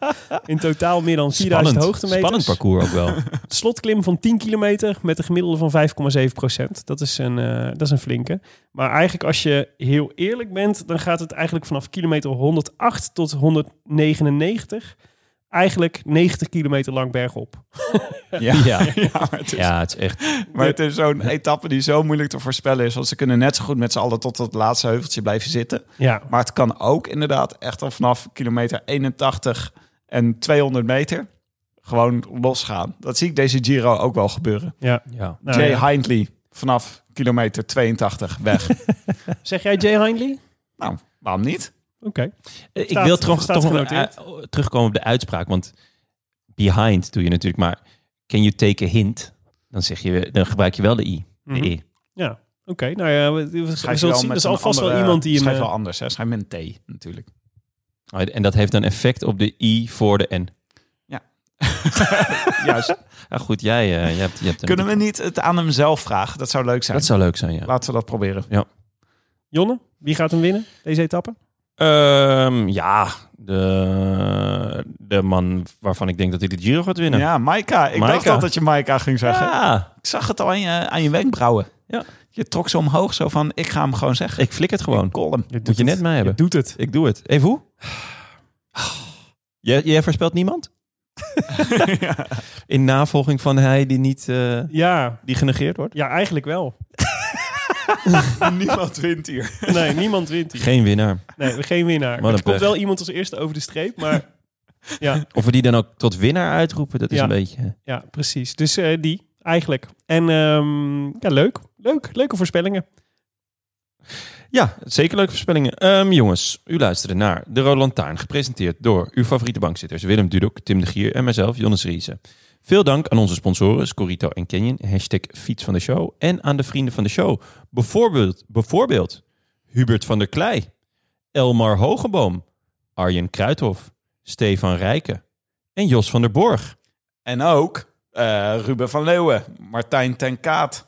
In totaal meer dan 4000 hoogtemeters.
Spannend parcours ook wel.
[laughs] slotklim van 10 kilometer met een gemiddelde van 5,7 procent. Dat, is een, eh, dat is een flinke. Maar eigenlijk als je heel eerlijk bent, dan gaat het eigenlijk vanaf kilometer 108 tot 199 eigenlijk 90 kilometer lang bergop.
Ja.
ja.
[laughs] Ja, maar het is-
ja, het is echt...
Maar het is zo'n etappe die zo moeilijk te voorspellen is. Want ze kunnen net zo goed met z'n allen tot dat laatste heuveltje blijven zitten.
Ja,
Maar het kan ook inderdaad echt al vanaf kilometer 81 en 200 meter gewoon losgaan. Dat zie ik deze Giro ook wel gebeuren.
ja.
Ja.
Nou,
Jay
ja.
Hindley vanaf kilometer 82
[laughs]
weg.
Zeg jij Jay Hindley?
nou, waarom niet?
Oké.
Eh, Ik
Staat-
wil toch,
staat
toch nog
genoteerd.
eh, terugkomen op de uitspraak. Want behind doe je natuurlijk maar... Can you take a hint? Dan, zeg je, dan gebruik je wel de i. De e.
Mhm.
i.
Ja, oké. Nou ja, we, we, we
Schrijf je
zullen
wel
zien.
met
Dat is
een
alvast wel
andere-
iemand die hem...
Schrijf
eh, [laughs]
wel anders, hè? Schrijf met een T natuurlijk.
Maar- Oh, En dat heeft een effect op de I voor de N.
Juist.
Ja, goed, jij, eh, je hebt, je hebt hem.
Kunnen we niet het aan hem zelf vragen? Dat zou leuk zijn.
Dat zou leuk zijn, ja.
Laten we dat proberen.
Jonne, wie gaat hem winnen, deze etappe?
Ehm, ja, de, de man waarvan ik denk dat hij de Giro gaat winnen.
Ja, Maika. Ik dacht
Maika.
al dat je Maika ging zeggen.
Ja,
Ik zag het al aan je, aan je wenkbrauwen.
Ja.
Je trok ze omhoog zo van, ik ga hem gewoon zeggen.
ik flik het gewoon.
Call hem.
Moet je net mij hebben.
Doet het.
Ik doe het. Even hoe? Jij, jij voorspelt niemand? [laughs] In navolging van hij die niet eh,
Ja,
die genegeerd wordt?
ja eigenlijk wel.
[laughs] Niemand wint hier.
Nee, niemand wint hier.
Geen winnaar. [laughs]
Nee, geen winnaar.
Wat
Er
een
komt
pech.
wel iemand als eerste over de streep,
[laughs]
maar... Ja,
Of we die dan ook tot winnaar uitroepen, dat is
Ja.
een beetje... eh,
ja precies. Dus eh, die, eigenlijk. En ehm, ja, leuk. Leuk. Leuke voorspellingen.
Ja, zeker leuke voorspellingen. Ehm, jongens, u luisterde naar De Rode Lantaarn, gepresenteerd door uw favoriete bankzitters Willem Dudok, Tim de Gier en mijzelf, Jonas Riese. Veel dank aan onze sponsoren Scorito en Canyon, hashtag fiets van de show en aan de vrienden van de show. Bijvoorbeeld, bijvoorbeeld Hubert van der Klei, Elmar Hogeboom, Arjen Kruithof, Stefan Rijken en Jos van der Borg.
En ook eh, Ruben van Leeuwen, Martijn ten Kaat,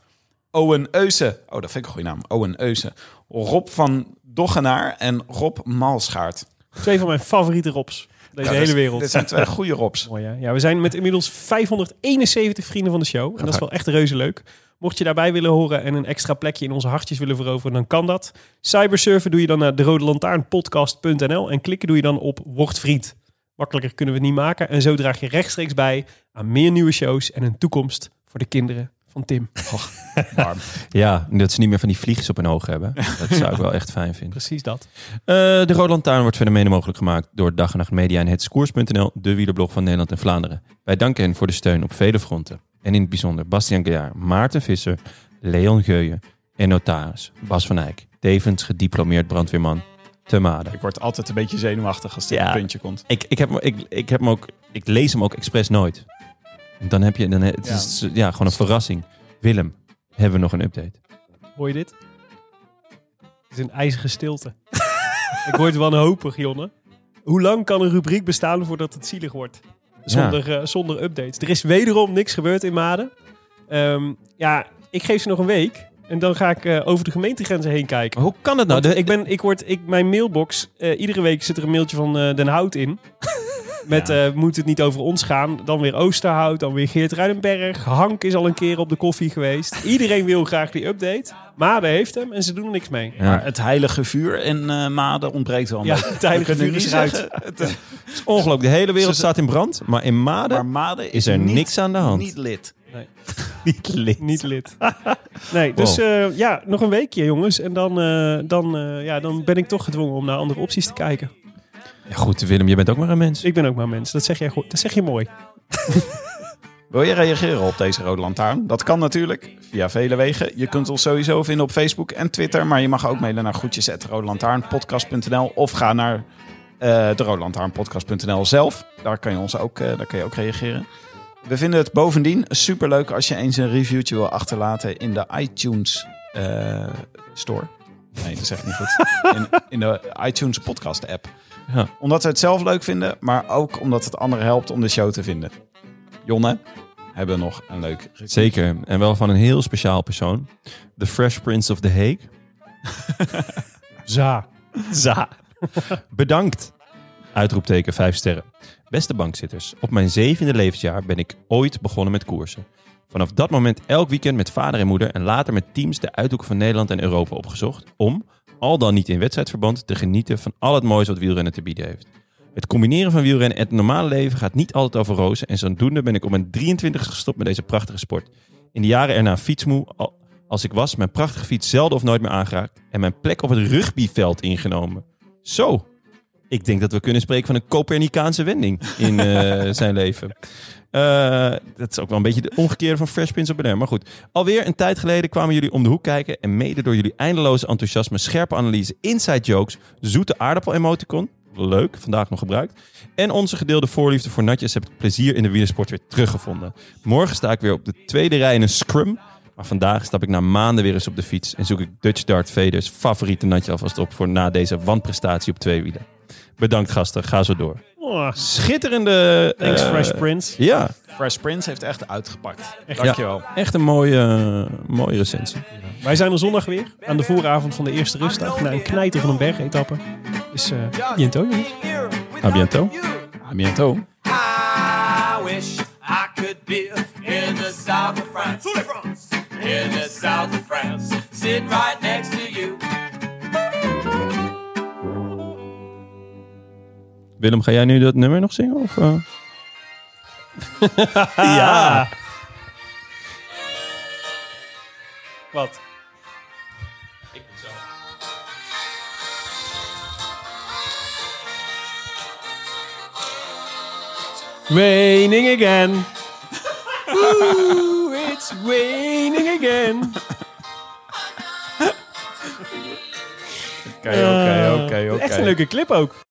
Owen Eusen. Oh, dat vind ik een goede naam. Owen Eusen. Rob van Doggenaar en Rob Malschaart.
Twee van mijn favoriete Robs. Deze
Ja,
hele
dit-
wereld.
Dit zijn [laughs] twee goede Robs.
Mooi, hè? Ja, we zijn met inmiddels 571 vrienden van de show. En dat is wel echt reuze leuk. Mocht je daarbij willen horen en een extra plekje in onze hartjes willen veroveren, dan kan dat. Cybersurfen doe je dan naar de Rode en klikken doe je dan op Word Vriend. Makkelijker kunnen we het niet maken. En zo draag je rechtstreeks bij aan meer nieuwe shows en een toekomst voor de kinderen van Tim. [laughs]
Ja, dat ze niet meer van die vliegjes op hun ogen hebben. Dat zou ik wel echt fijn vinden.
Precies dat.
Eh, de Rode Lantaarn wordt verder mede mogelijk gemaakt door Dag en Nacht Media en hetskoers.nl, de wielerblog van Nederland en Vlaanderen. Wij danken hen voor de steun op vele fronten. En in het bijzonder Bastian Gaillard, Maarten Visser, Leon Geuyen en notaris Bas van Eyck, tevens gediplomeerd brandweerman te Maden.
Ik word altijd een beetje zenuwachtig als dit
Ja.
een puntje komt.
Ik, ik, heb, hem- ik, ik, heb hem ook, ik lees hem ook expres nooit. Dan heb je, dan, he- het
Ja.
is ja, gewoon een verrassing. Willem, hebben we nog een update?
Hoor je dit? Het is een ijzige stilte. Ik word wanhopig, Jonne. Hoe lang kan een rubriek bestaan voordat het zielig wordt? Zonder, eh, zonder updates. Er is wederom niks gebeurd in Maden. Ehm, ja, ik geef ze nog een week. En dan ga ik eh, over de gemeentegrenzen heen kijken.
Maar hoe kan het nou?
Want
De-
ik ben, ik word, ik, mijn mailbox, eh, iedere week zit er een mailtje van eh, Den Hout
[laughs]
in. Met eh, moet het niet over ons gaan. Dan weer Oosterhout, dan weer Geert Ruidenberg. Hank is al een keer op de koffie geweest. Iedereen wil graag die update. Mabe heeft hem en ze doen er niks mee.
Ja.
Maar het heilige vuur in eh, Maden ontbreekt wel. een
Ja,
beetje.
het heilige
We kunnen
vuur is
niet
eruit.
zeggen- het, eh,
Ongelooflijk, de hele wereld staat in brand, maar in Maden
maar Maden
is er
niet-
niks aan de hand.
Niet lid.
niet lid.
Niet lid. Nee, dus eh, ja, nog een weekje jongens. En dan, eh, dan, eh, ja, dan ben ik toch gedwongen om naar andere opties te kijken. Dus
Ja, goed, Willem, je bent ook maar een mens.
Ik ben ook maar mens. Dat zeg, jij goed. Dat zeg je mooi.
Wil je reageren op deze rode lantaarn? Dat kan natuurlijk via vele wegen. Je kunt ons sowieso vinden op Facebook en Twitter. Maar je mag ook mailen naar groetjes.roodlantaarnpodcast.nl of ga naar eh de roodlantaarnpodcast.nl zelf. Daar kan je ons ook, eh, daar kan je ook reageren. We vinden het bovendien superleuk als je eens een reviewtje wil achterlaten in de iTunes eh, Store. Nee, dat zeg ik niet goed. In, in de iTunes podcast app.
Ja.
Omdat we het zelf leuk vinden, maar ook omdat het anderen helpt om de show te vinden. Jonne, hebben we nog een leuk recept.
Zeker, en wel van een heel speciaal persoon. The Fresh Prince of The Hague.
Za.
Za. Bedankt. Uitroepteken 5 sterren. Beste bankzitters, op mijn zevende levensjaar ben ik ooit begonnen met koersen. Vanaf dat moment elk weekend met vader en moeder en later met teams de uithoeken van Nederland en Europa opgezocht om, al dan niet in wedstrijdverband, te genieten van al het moois wat wielrennen te bieden heeft. Het combineren van wielrennen en het normale leven gaat niet altijd over rozen en zodoende ben ik op mijn 23 gestopt met deze prachtige sport. In de jaren erna fietsmoe, al- als ik was, mijn prachtige fiets zelden of nooit meer aangeraakt en mijn plek op het rugbyveld ingenomen. Zo, ik denk dat we kunnen spreken van een Copernicaanse wending in eh, zijn leven. Eh, dat is ook wel een beetje de omgekeerde van Fresh Prince of Bel-Air. Maar goed, alweer een tijd geleden kwamen jullie om de hoek kijken... en mede door jullie eindeloze enthousiasme, scherpe analyse, inside jokes... zoete aardappel-emoticon, leuk, vandaag nog gebruikt... en onze gedeelde voorliefde voor natjes heb ik plezier in de wielersport weer teruggevonden. Morgen sta ik weer op de tweede rij in een scrum... maar vandaag stap ik na maanden weer eens op de fiets... en zoek ik Dutch Dart Vaders favoriete natje alvast op... voor na deze wanprestatie op twee wielen. Bedankt gasten, ga zo door.
Oh,
Schitterende...
thanks
eh,
Fresh Prince.
Ja,
Fresh Prince heeft echt uitgepakt. Dankjewel.
echt een mooie, mooie recensie.
Wij zijn er zondag weer. Aan de vooravond van de eerste rustdag. Na een knijter van een bergetappe. Dus eh biento, jongens.
A bientôt.
A bientôt.
I wish I could be in the south of France. France. In the south of France, sitting right next to you.
Willem, ga jij nu dat nummer nog zingen? Of, eh?
Ja. Wat? Raining [laughs] again. Ooh, it's raining again.
Oké, oké, oké,
Echt een leuke clip ook.